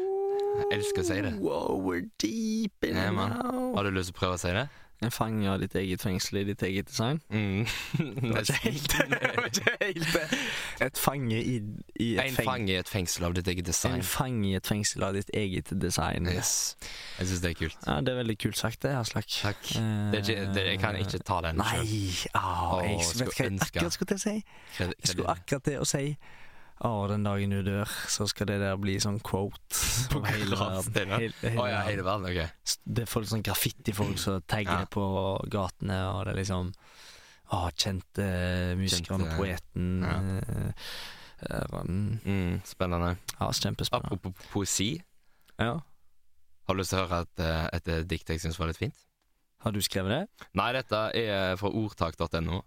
Speaker 2: Jeg elsker å si det.
Speaker 1: Wow, we're deep in
Speaker 2: Ja,
Speaker 1: it
Speaker 2: man.
Speaker 1: now.
Speaker 2: Har du lyst til å prøve å si det?
Speaker 1: en fange av ditt eget fengsel i ditt eget design.
Speaker 2: Mm.
Speaker 1: Det var ikke helt, det var ikke helt det. Et fange i, i et
Speaker 2: En
Speaker 1: feng-
Speaker 2: fange i et fengsel av ditt eget design.
Speaker 1: En fange i et fengsel av ditt eget design.
Speaker 2: Yes. Jeg syns det er kult.
Speaker 1: Ja, det er veldig kult sagt, det, Aslak. Eh,
Speaker 2: Takk. Det er ikke, det, jeg kan ikke ta den
Speaker 1: Nei!
Speaker 2: selv.
Speaker 1: Au,
Speaker 2: Å,
Speaker 1: jeg
Speaker 2: skulle
Speaker 1: vet hva jeg
Speaker 2: ønske.
Speaker 1: akkurat skulle til å si.
Speaker 2: Kred-
Speaker 1: Jeg skulle
Speaker 2: kred-
Speaker 1: akkurat til å si Å, den dagen du dør, så skal det der bli sånn quote
Speaker 2: På
Speaker 1: over hele verden.
Speaker 2: gravsteinen.
Speaker 1: Hele- hele
Speaker 2: Å ja,
Speaker 1: verden.
Speaker 2: hele verden. Ok.
Speaker 1: Det er folk sånn graffitifolk som tagger
Speaker 2: Ja.
Speaker 1: på gatene, og det er liksom Å, kjente musikeren og
Speaker 2: Kjente-
Speaker 1: poeten
Speaker 2: ja.
Speaker 1: eh, eh, han-
Speaker 2: Mm, spennende.
Speaker 1: Ja, kjempespennende.
Speaker 2: Apropos poesi.
Speaker 1: Ja.
Speaker 2: Har du lyst til å høre et, eh, et, eh, dikt jeg syns var litt fint?
Speaker 1: Har du skrevet det?
Speaker 2: Nei, dette er fra ordtak.no.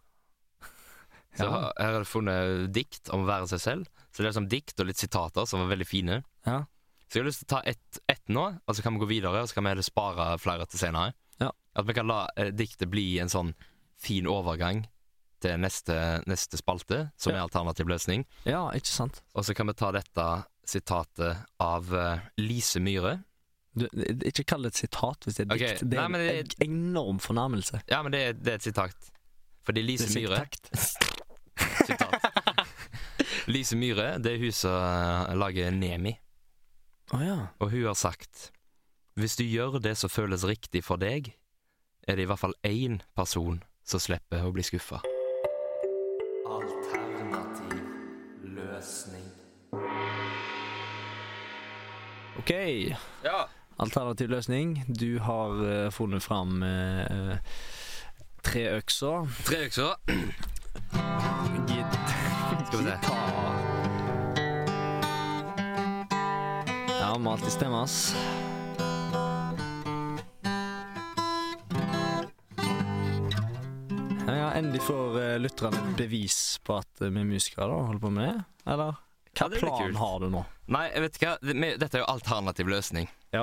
Speaker 2: Så
Speaker 1: Ja.
Speaker 2: har- Her har jeg funnet dikt om å være seg selv. Så det er liksom dikt og litt sitater som var veldig fine.
Speaker 1: Ja.
Speaker 2: Så jeg har lyst til å ta ett ett nå, og så kan vi gå videre, og så kan vi heller spare flere til senere.
Speaker 1: Ja.
Speaker 2: At vi kan la eh, diktet bli en sånn fin overgang til neste, neste spalte, som
Speaker 1: Ja.
Speaker 2: er alternativ løsning.
Speaker 1: Ja, ikke sant?
Speaker 2: Og så kan vi ta dette sitatet av eh, Lise Myhre.
Speaker 1: Du, ikke kall det et sitat hvis det er
Speaker 2: Ok,
Speaker 1: dikt. Det
Speaker 2: nei,
Speaker 1: er
Speaker 2: men
Speaker 1: en
Speaker 2: det-
Speaker 1: en enorm fornærmelse.
Speaker 2: Ja, men det, er- det er et sitat. Fordi Lise
Speaker 1: Det er
Speaker 2: Myhre
Speaker 1: sitat.
Speaker 2: Sitat. Lise Myhre, det er hun som eh, lager Nemi.
Speaker 1: Å ja.
Speaker 2: Og hun har sagt Hvis du gjør det som føles riktig for deg, er det i hvert fall én person som slipper å bli skuffa. Alternativ løsning.
Speaker 1: OK.
Speaker 2: Ja.
Speaker 1: Alternativ løsning. Du har eh, funnet fram eh, tre økser.
Speaker 2: Tre økser.
Speaker 1: Git
Speaker 2: Skal vi se.
Speaker 1: Ja, må alltid stemme, ass. Ja, ja, endelig får eh, lytterne et bevis på at eh, vi er musikere da, holder på med det. Eller
Speaker 2: Ja,
Speaker 1: hva
Speaker 2: det blir
Speaker 1: plan
Speaker 2: kult.
Speaker 1: har du nå?
Speaker 2: Nei, jeg vet ikke hva. Det- vi- Dette er jo alternativ løsning.
Speaker 1: Ja.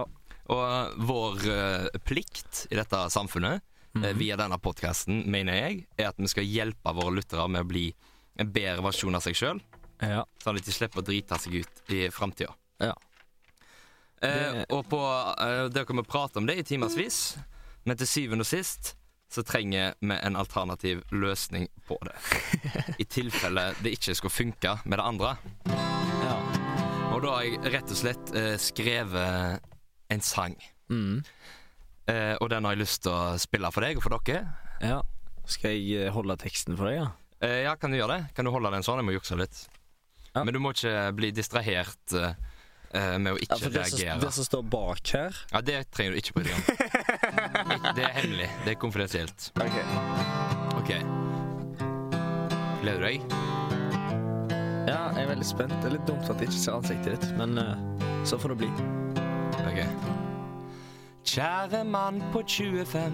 Speaker 2: Og eh, vår eh, plikt i dette samfunnet, eh,
Speaker 1: Mm. Mhm.
Speaker 2: via denne podkasten, mener jeg, er at vi skal hjelpe våre lyttere med å bli en bedre versjon av seg sjøl.
Speaker 1: Ja.
Speaker 2: Sånn at de slipper å drite seg ut i framtida.
Speaker 1: Ja.
Speaker 2: Eh,
Speaker 1: Det-
Speaker 2: og på, eh, dere kommer prate om det i timevis, men til syvende og sist så trenger vi en alternativ løsning på det. I tilfelle det ikke skulle funke med det andre.
Speaker 1: ja.
Speaker 2: Og da har jeg rett og slett eh, skrevet en sang.
Speaker 1: Mm.
Speaker 2: Eh, og den har jeg lyst til å spille for deg og for dere.
Speaker 1: ja. Skal jeg eh, holde teksten for deg, ja?
Speaker 2: Eh, ja, kan du gjøre det? Kan du holde den sånn? Jeg må jukse litt.
Speaker 1: Ja.
Speaker 2: Men du må ikke bli distrahert eh, eh, med å ikke
Speaker 1: for det, som,
Speaker 2: reagere.
Speaker 1: det som står bak her
Speaker 2: Ja, det trenger du ikke bry deg om. Det er hemmelig. Det er konfidensielt. OK. Gleder du deg?
Speaker 1: Ja, jeg er veldig spent. Det er litt dumt at jeg ikke ser ansiktet ditt, men eh, så får det bli.
Speaker 2: OK. Kjære mann på 25,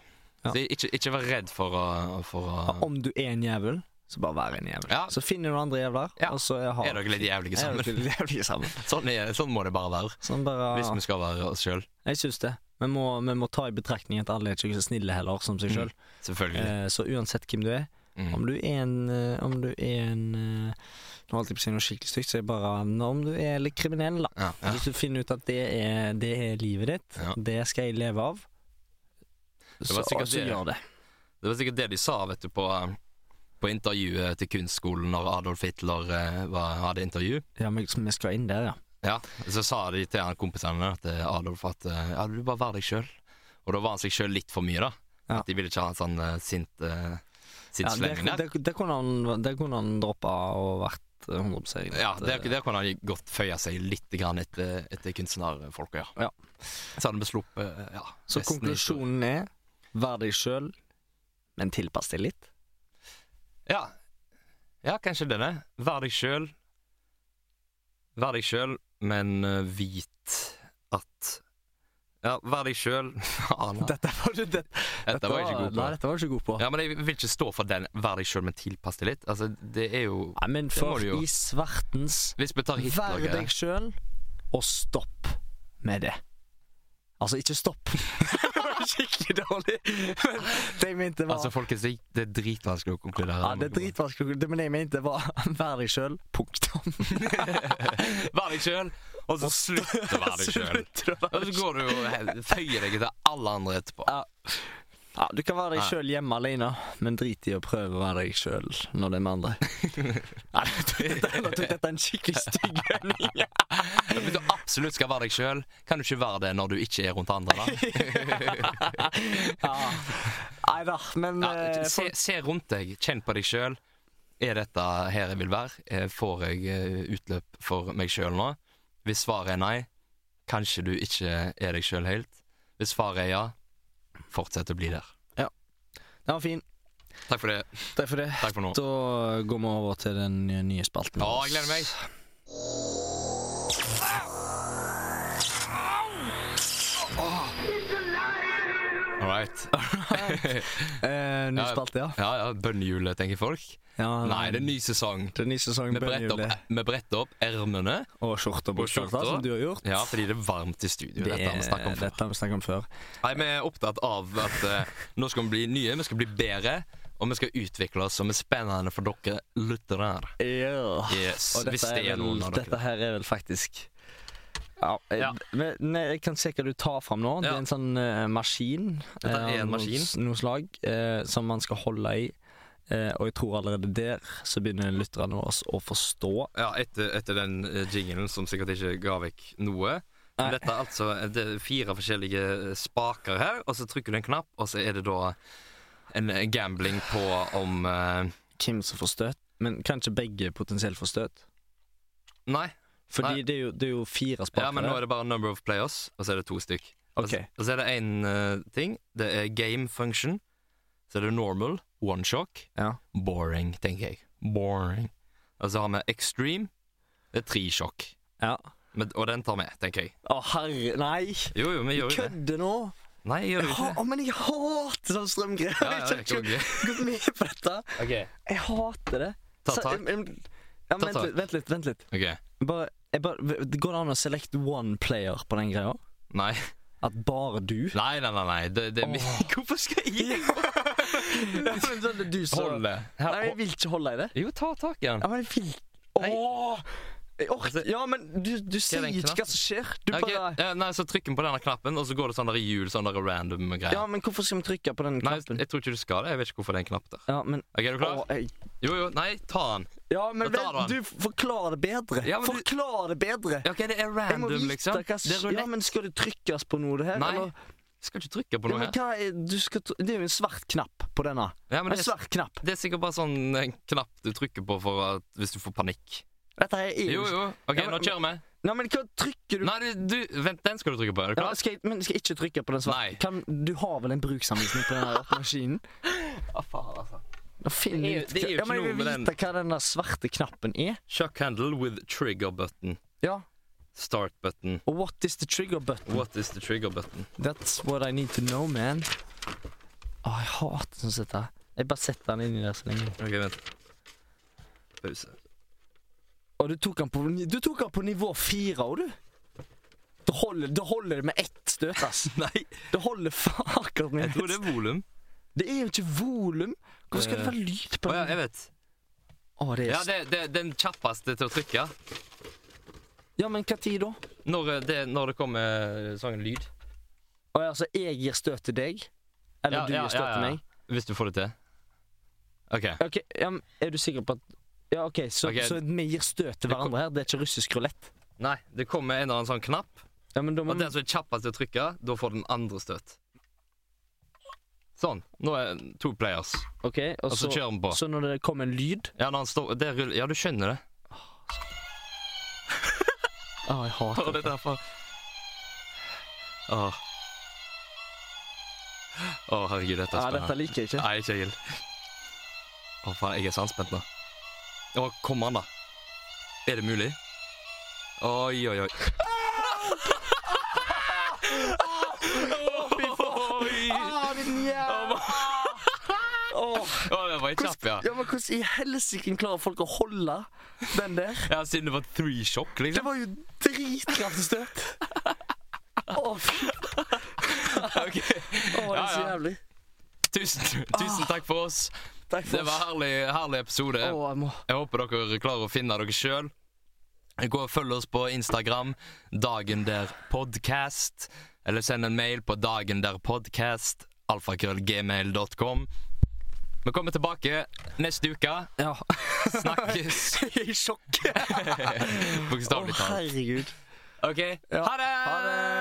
Speaker 1: Ja.
Speaker 2: Så ikke, ikke vær redd for å, for å...
Speaker 1: Om du er en jævel, så bare vær en jævel.
Speaker 2: Ja.
Speaker 1: Så finner du andre jævler,
Speaker 2: Ja.
Speaker 1: og så har
Speaker 2: Er dere litt jævlige
Speaker 1: er
Speaker 2: sammen?
Speaker 1: dere litt jævlige sammen.
Speaker 2: Sånn, er, sånn må det bare være.
Speaker 1: Sånn bare
Speaker 2: Hvis vi skal være oss sjøl.
Speaker 1: Jeg syns det. Vi må, vi må ta i betraktning at alle er ikke så snille heller, som seg sjøl.
Speaker 2: Selvfølgelig.
Speaker 1: Eh, så uansett hvem du er,
Speaker 2: Mm.
Speaker 1: om du er en eh, Om du er en eh, Nå holdt jeg på å si noe skikkelig stygt, så jeg bare Om du er litt kriminell, da.
Speaker 2: Ja, ja.
Speaker 1: Hvis du finner ut at det er, det er livet ditt,
Speaker 2: Ja.
Speaker 1: det skal jeg leve av, så,
Speaker 2: var sikkert
Speaker 1: så
Speaker 2: det.
Speaker 1: gjør det.
Speaker 2: Det var sikkert det de sa vet du, på, på intervjuet til kunstskolen når Adolf Hitler eh, var, hadde intervju.
Speaker 1: Ja, men liksom, vi skal inn der, ja.
Speaker 2: Ja, Så sa de til han kompisene at eh, Adolf at eh, ja, du bare vær deg sjøl. Og da var han seg sjøl litt for mye, da.
Speaker 1: Ja.
Speaker 2: At de ville ikke ha en sånn eh, sint, eh, sint
Speaker 1: ja det,
Speaker 2: slemming der.
Speaker 1: det, det kunne han, det kunne han droppa og vært 100 egen.
Speaker 2: Ja, der, der kunne han godt føye seg litt grann etter, etter kunstnerfolka, ja.
Speaker 1: Ja.
Speaker 2: Så hadde vi sluppet ja,
Speaker 1: Så
Speaker 2: resten er historie.
Speaker 1: konklusjonen er vær deg sjøl, men tilpass deg litt.
Speaker 2: Ja. ja, kanskje denne. Vær deg sjøl. Vær deg sjøl, men eh, vit at Ja, vær deg sjøl. Faen, ja.
Speaker 1: Dette var, det,
Speaker 2: Dette var jeg ikke god
Speaker 1: Nei,
Speaker 2: på.
Speaker 1: dette var jeg ikke god på.
Speaker 2: Ja, men jeg vil ikke stå for den 'vær deg sjøl, men tilpass deg litt'. Altså, det er jo
Speaker 1: Nei, men
Speaker 2: Det må
Speaker 1: for
Speaker 2: du jo.
Speaker 1: i svartens
Speaker 2: Hvis vi tar
Speaker 1: Vær
Speaker 2: Hitler-greia
Speaker 1: deg sjøl, og stopp med det. Altså, ikke stopp. det var skikkelig dårlig. Men det jeg mente var
Speaker 2: Altså, folkens, det, det er dritvanskelig å konkludere.
Speaker 1: ja, Det er dritvanskelig, det- men det jeg mente var vær deg sjøl, punktum.
Speaker 2: Vær deg sjøl, og så slutt å være deg sjøl.
Speaker 1: Slutt å være
Speaker 2: Og så går du og føyer deg etter alle andre etterpå.
Speaker 1: Ja. Ja, du kan være deg
Speaker 2: Ja.
Speaker 1: sjøl hjemme alene, men drit i å prøve å være deg sjøl når det er med andre. Ja, jeg tok dette, nå tok dette en skikkelig stygg vending.
Speaker 2: Hvis du absolutt skal være deg sjøl, kan du ikke være det når du ikke er rundt andre. da?
Speaker 1: Ja. Nei da, men
Speaker 2: Ja,
Speaker 1: eh,
Speaker 2: se, se rundt deg, kjenn på deg sjøl. Er dette her jeg vil være? Eh, Får jeg eh, utløp for meg sjøl nå? Hvis svaret er nei, kanskje du ikke er deg sjøl helt. Hvis svaret er ja, fortsett å bli der.
Speaker 1: folk- Den var fin.
Speaker 2: Takk for det.
Speaker 1: Takk for det.
Speaker 2: Takk for nå.
Speaker 1: Da går vi over til den nye spalten.
Speaker 2: Å, jeg gleder meg. All right.
Speaker 1: Eh, ny
Speaker 2: Ja.
Speaker 1: spalte, ja.
Speaker 2: Ja, ja, bønnehjulet, tenker folk.
Speaker 1: ja
Speaker 2: Nei, det er en ny sesong.
Speaker 1: det er ny sesong
Speaker 2: Vi bretter
Speaker 1: bønnehjule
Speaker 2: opp, vi bretter opp ermene.
Speaker 1: og skjorte og bukser,
Speaker 2: Og skjorter.
Speaker 1: som du har gjort.
Speaker 2: Ja, fordi det er varmt i studio.
Speaker 1: Det
Speaker 2: dette har vi snakket om
Speaker 1: er-
Speaker 2: før.
Speaker 1: dette har vi snakket om før.
Speaker 2: Nei, Vi er opptatt av at eh, nå skal vi bli nye, vi skal bli bedre. Og vi skal utvikle oss som er spennende for dere lyttere.
Speaker 1: Ja.
Speaker 2: Yes,
Speaker 1: Og
Speaker 2: hvis
Speaker 1: dette,
Speaker 2: det
Speaker 1: er
Speaker 2: er
Speaker 1: vel,
Speaker 2: noen av
Speaker 1: dette
Speaker 2: dere.
Speaker 1: her er vel faktisk ja, eh,
Speaker 2: Ja.
Speaker 1: Men, nei, Jeg kan se hva du tar fram nå. Det
Speaker 2: Ja.
Speaker 1: er en sånn eh, maskin.
Speaker 2: Dette er
Speaker 1: eh,
Speaker 2: en
Speaker 1: av
Speaker 2: maskin.
Speaker 1: noe s- Noe slag eh, som man skal holde i. Eh, og jeg tror allerede der så begynner lytterne våre å forstå.
Speaker 2: Ja, etter, etter den eh, jinglen som sikkert ikke ga vekk noe.
Speaker 1: Nei.
Speaker 2: Men Dette er altså det er fire forskjellige eh, spaker her, og så trykker du en knapp, og så er det da en eh, gambling på om eh,
Speaker 1: hvem som får støt. Men kan ikke begge potensielt få støt?
Speaker 2: Nei.
Speaker 1: Fordi
Speaker 2: Nei.
Speaker 1: det er, jo, det er jo fire spakere.
Speaker 2: Ja, men nå er det bare number of players, og så er det to stykk. Og så- Og så er det én ting. Det er game function. Så er det normal, one shock.
Speaker 1: Ja.
Speaker 2: Boring, tenker jeg. Boring. Og så har vi extreme. Det er tre sjokk.
Speaker 1: Ja.
Speaker 2: Men, og den tar vi, tenker jeg.
Speaker 1: Å, herre Nei!
Speaker 2: Jo, jo, vi gjør jo det.
Speaker 1: Kødder nå!
Speaker 2: Nei, jeg gjør
Speaker 1: Jeg
Speaker 2: jo
Speaker 1: ha,
Speaker 2: ikke det.
Speaker 1: å, men jeg hater sånn strømgreier.
Speaker 2: Ja, ja, det er
Speaker 1: jeg har ikke
Speaker 2: konge.
Speaker 1: gått mye på dette.
Speaker 2: Ok.
Speaker 1: Jeg hater det.
Speaker 2: Ta
Speaker 1: Så-
Speaker 2: tak.
Speaker 1: em, em, Ja,
Speaker 2: Ta
Speaker 1: vent,
Speaker 2: tak.
Speaker 1: litt, vent litt. vent litt
Speaker 2: Ok.
Speaker 1: bare, jeg bare, v- Går det an å select one player på den greia?
Speaker 2: Nei.
Speaker 1: At bare du?
Speaker 2: Nei, nei, nei. nei. Det, det er mi- Hvorfor skal jeg
Speaker 1: Ja, men så er det du som
Speaker 2: Hold det. Her,
Speaker 1: Nei, jeg vil ikke holde i det.
Speaker 2: Jo, ta tak i den.
Speaker 1: Ja, men jeg vil Åh! Jeg orker Ja, men du, du sier
Speaker 2: Altså, den
Speaker 1: ikke
Speaker 2: knappen?
Speaker 1: hva som skjer. Du
Speaker 2: Ok,
Speaker 1: bare
Speaker 2: ja, Nei, så trykker vi på denne knappen, og så går det sånn der hjul, sånn der random greier.
Speaker 1: Ja, men hvorfor skal vi trykke på den
Speaker 2: nei,
Speaker 1: knappen?
Speaker 2: jeg tror ikke du skal det. Jeg vet ikke hvorfor det er en knapp der.
Speaker 1: Ja, men
Speaker 2: Ok, er du klar?
Speaker 1: Åh, jeg
Speaker 2: Jo, jo, nei, ta den.
Speaker 1: Ja, men
Speaker 2: Da tar
Speaker 1: vent,
Speaker 2: du
Speaker 1: du forklarer det bedre.
Speaker 2: Ja, men du-
Speaker 1: Forklar det bedre.
Speaker 2: Ja, Ok, det er
Speaker 1: Jeg må
Speaker 2: random,
Speaker 1: vite
Speaker 2: liksom.
Speaker 1: hva
Speaker 2: Det er
Speaker 1: som Ja,
Speaker 2: rulett.
Speaker 1: men skal det trykkes på noe, det her?
Speaker 2: Nei,
Speaker 1: eller?
Speaker 2: skal ikke trykke på
Speaker 1: Ja,
Speaker 2: noe
Speaker 1: men
Speaker 2: her.
Speaker 1: hva er, du skal, tr- det er jo en svart knapp på denne.
Speaker 2: Ja, men
Speaker 1: En
Speaker 2: det, er,
Speaker 1: svart knapp.
Speaker 2: det er sikkert bare sånn en knapp du trykker på for at, hvis du får panikk.
Speaker 1: Dette her er
Speaker 2: Jo, jo. Ok,
Speaker 1: Ja, men-
Speaker 2: nå kjører vi.
Speaker 1: Nei, men hva trykker du
Speaker 2: Nei, du, du Vent, den skal du trykke på. Er du
Speaker 1: ja,
Speaker 2: klar?
Speaker 1: skal jeg, men skal jeg ikke trykke på den
Speaker 2: Nei.
Speaker 1: svarte? Kan, du har vel en bruksanvisning på den her maskinen?
Speaker 2: Ah, faen, altså.
Speaker 1: Da finn
Speaker 2: Det er jo-
Speaker 1: ut
Speaker 2: det er
Speaker 1: hva-
Speaker 2: jo
Speaker 1: ja,
Speaker 2: ikke
Speaker 1: men Jeg
Speaker 2: noe
Speaker 1: vil
Speaker 2: med
Speaker 1: vite hva den der svarte knappen er.
Speaker 2: Shock handle with trigger button.
Speaker 1: Ja,
Speaker 2: Start button.
Speaker 1: Og what is the trigger button?
Speaker 2: What is the trigger button?
Speaker 1: That's what I need to know, man. Å, jeg hater sånn sett det. Jeg bare setter den inni der så lenge.
Speaker 2: Ok, vent. Pause.
Speaker 1: Og du tok han på, du tok han på nivå fire, og du. Det holder, det holder med ett støt, ass.
Speaker 2: Nei,
Speaker 1: Det holder faen akkurat med
Speaker 2: jeg tror det
Speaker 1: ett.
Speaker 2: er volum.
Speaker 1: Det er jo ikke volum. Hvorfor skal det
Speaker 2: Eh,
Speaker 1: være lyd
Speaker 2: Å
Speaker 1: på
Speaker 2: ja,
Speaker 1: den?
Speaker 2: jeg vet.
Speaker 1: Å, det
Speaker 2: Ja,
Speaker 1: er
Speaker 2: det, det er den kjappeste til å trykke.
Speaker 1: Ja, men hva tid da?
Speaker 2: Når eh, det, når det kommer sånn lyd.
Speaker 1: Å ja, så jeg gir støt til deg? Eller
Speaker 2: Ja,
Speaker 1: du
Speaker 2: ja,
Speaker 1: gir støt
Speaker 2: ja,
Speaker 1: til
Speaker 2: ja.
Speaker 1: meg?
Speaker 2: Hvis du får det til. OK.
Speaker 1: Ok, ja, men Er du sikker på at Ja, OK, så,
Speaker 2: Ok.
Speaker 1: så vi gir støt til
Speaker 2: Det kom-
Speaker 1: hverandre her? Det er ikke russisk rulett?
Speaker 2: Nei, det kommer en eller annen sånn knapp.
Speaker 1: Ja, men da må
Speaker 2: Og den som er altså kjappest til å trykke, da får den andre støt. Sånn. Nå er det to players,
Speaker 1: OK, og
Speaker 2: og
Speaker 1: så,
Speaker 2: så kjører vi på.
Speaker 1: så når det kommer en lyd
Speaker 2: Ja, når han står, det ruller, ja, du skjønner det.
Speaker 1: Å, jeg hater
Speaker 2: Og det er derfor Åh. Å, herregud, dette
Speaker 1: Ja,
Speaker 2: er
Speaker 1: dette
Speaker 2: spennende.
Speaker 1: liker jeg ikke.
Speaker 2: Nei, ikke Egil. Å, faen, jeg er så anspent nå. Å, kom an, da. Er det mulig? Oi, oi, oi. Oi!
Speaker 1: Ah, din jævla Åh,
Speaker 2: Å, det var en kjapp, ja.
Speaker 1: ja, men Hvordan i helsike klarer folk å holde den der?
Speaker 2: Ja, Siden det var three shock,
Speaker 1: Det
Speaker 2: liksom.
Speaker 1: var jo dritkraftig støt. Å, fy Å,
Speaker 2: Ok.
Speaker 1: det er så
Speaker 2: Ja, ja.
Speaker 1: jævlig.
Speaker 2: Tusen, tusen takk for oss.
Speaker 1: Takk
Speaker 2: Det
Speaker 1: for
Speaker 2: var
Speaker 1: oss.
Speaker 2: herlig, herlig episode.
Speaker 1: Å, jeg må
Speaker 2: Jeg håper dere klarer å finne dere sjøl. Gå og følg oss på Instagram, Dagen der podcast, eller send en mail på dagenderpodcast alfakrøllgmail.com. Vi kommer tilbake neste uke.
Speaker 1: Ja.
Speaker 2: Snakkes,
Speaker 1: I sjokk. Å,
Speaker 2: bokstavelig talt.
Speaker 1: herregud.
Speaker 2: OK,
Speaker 1: Ja.
Speaker 2: Ha det!
Speaker 1: Ha det!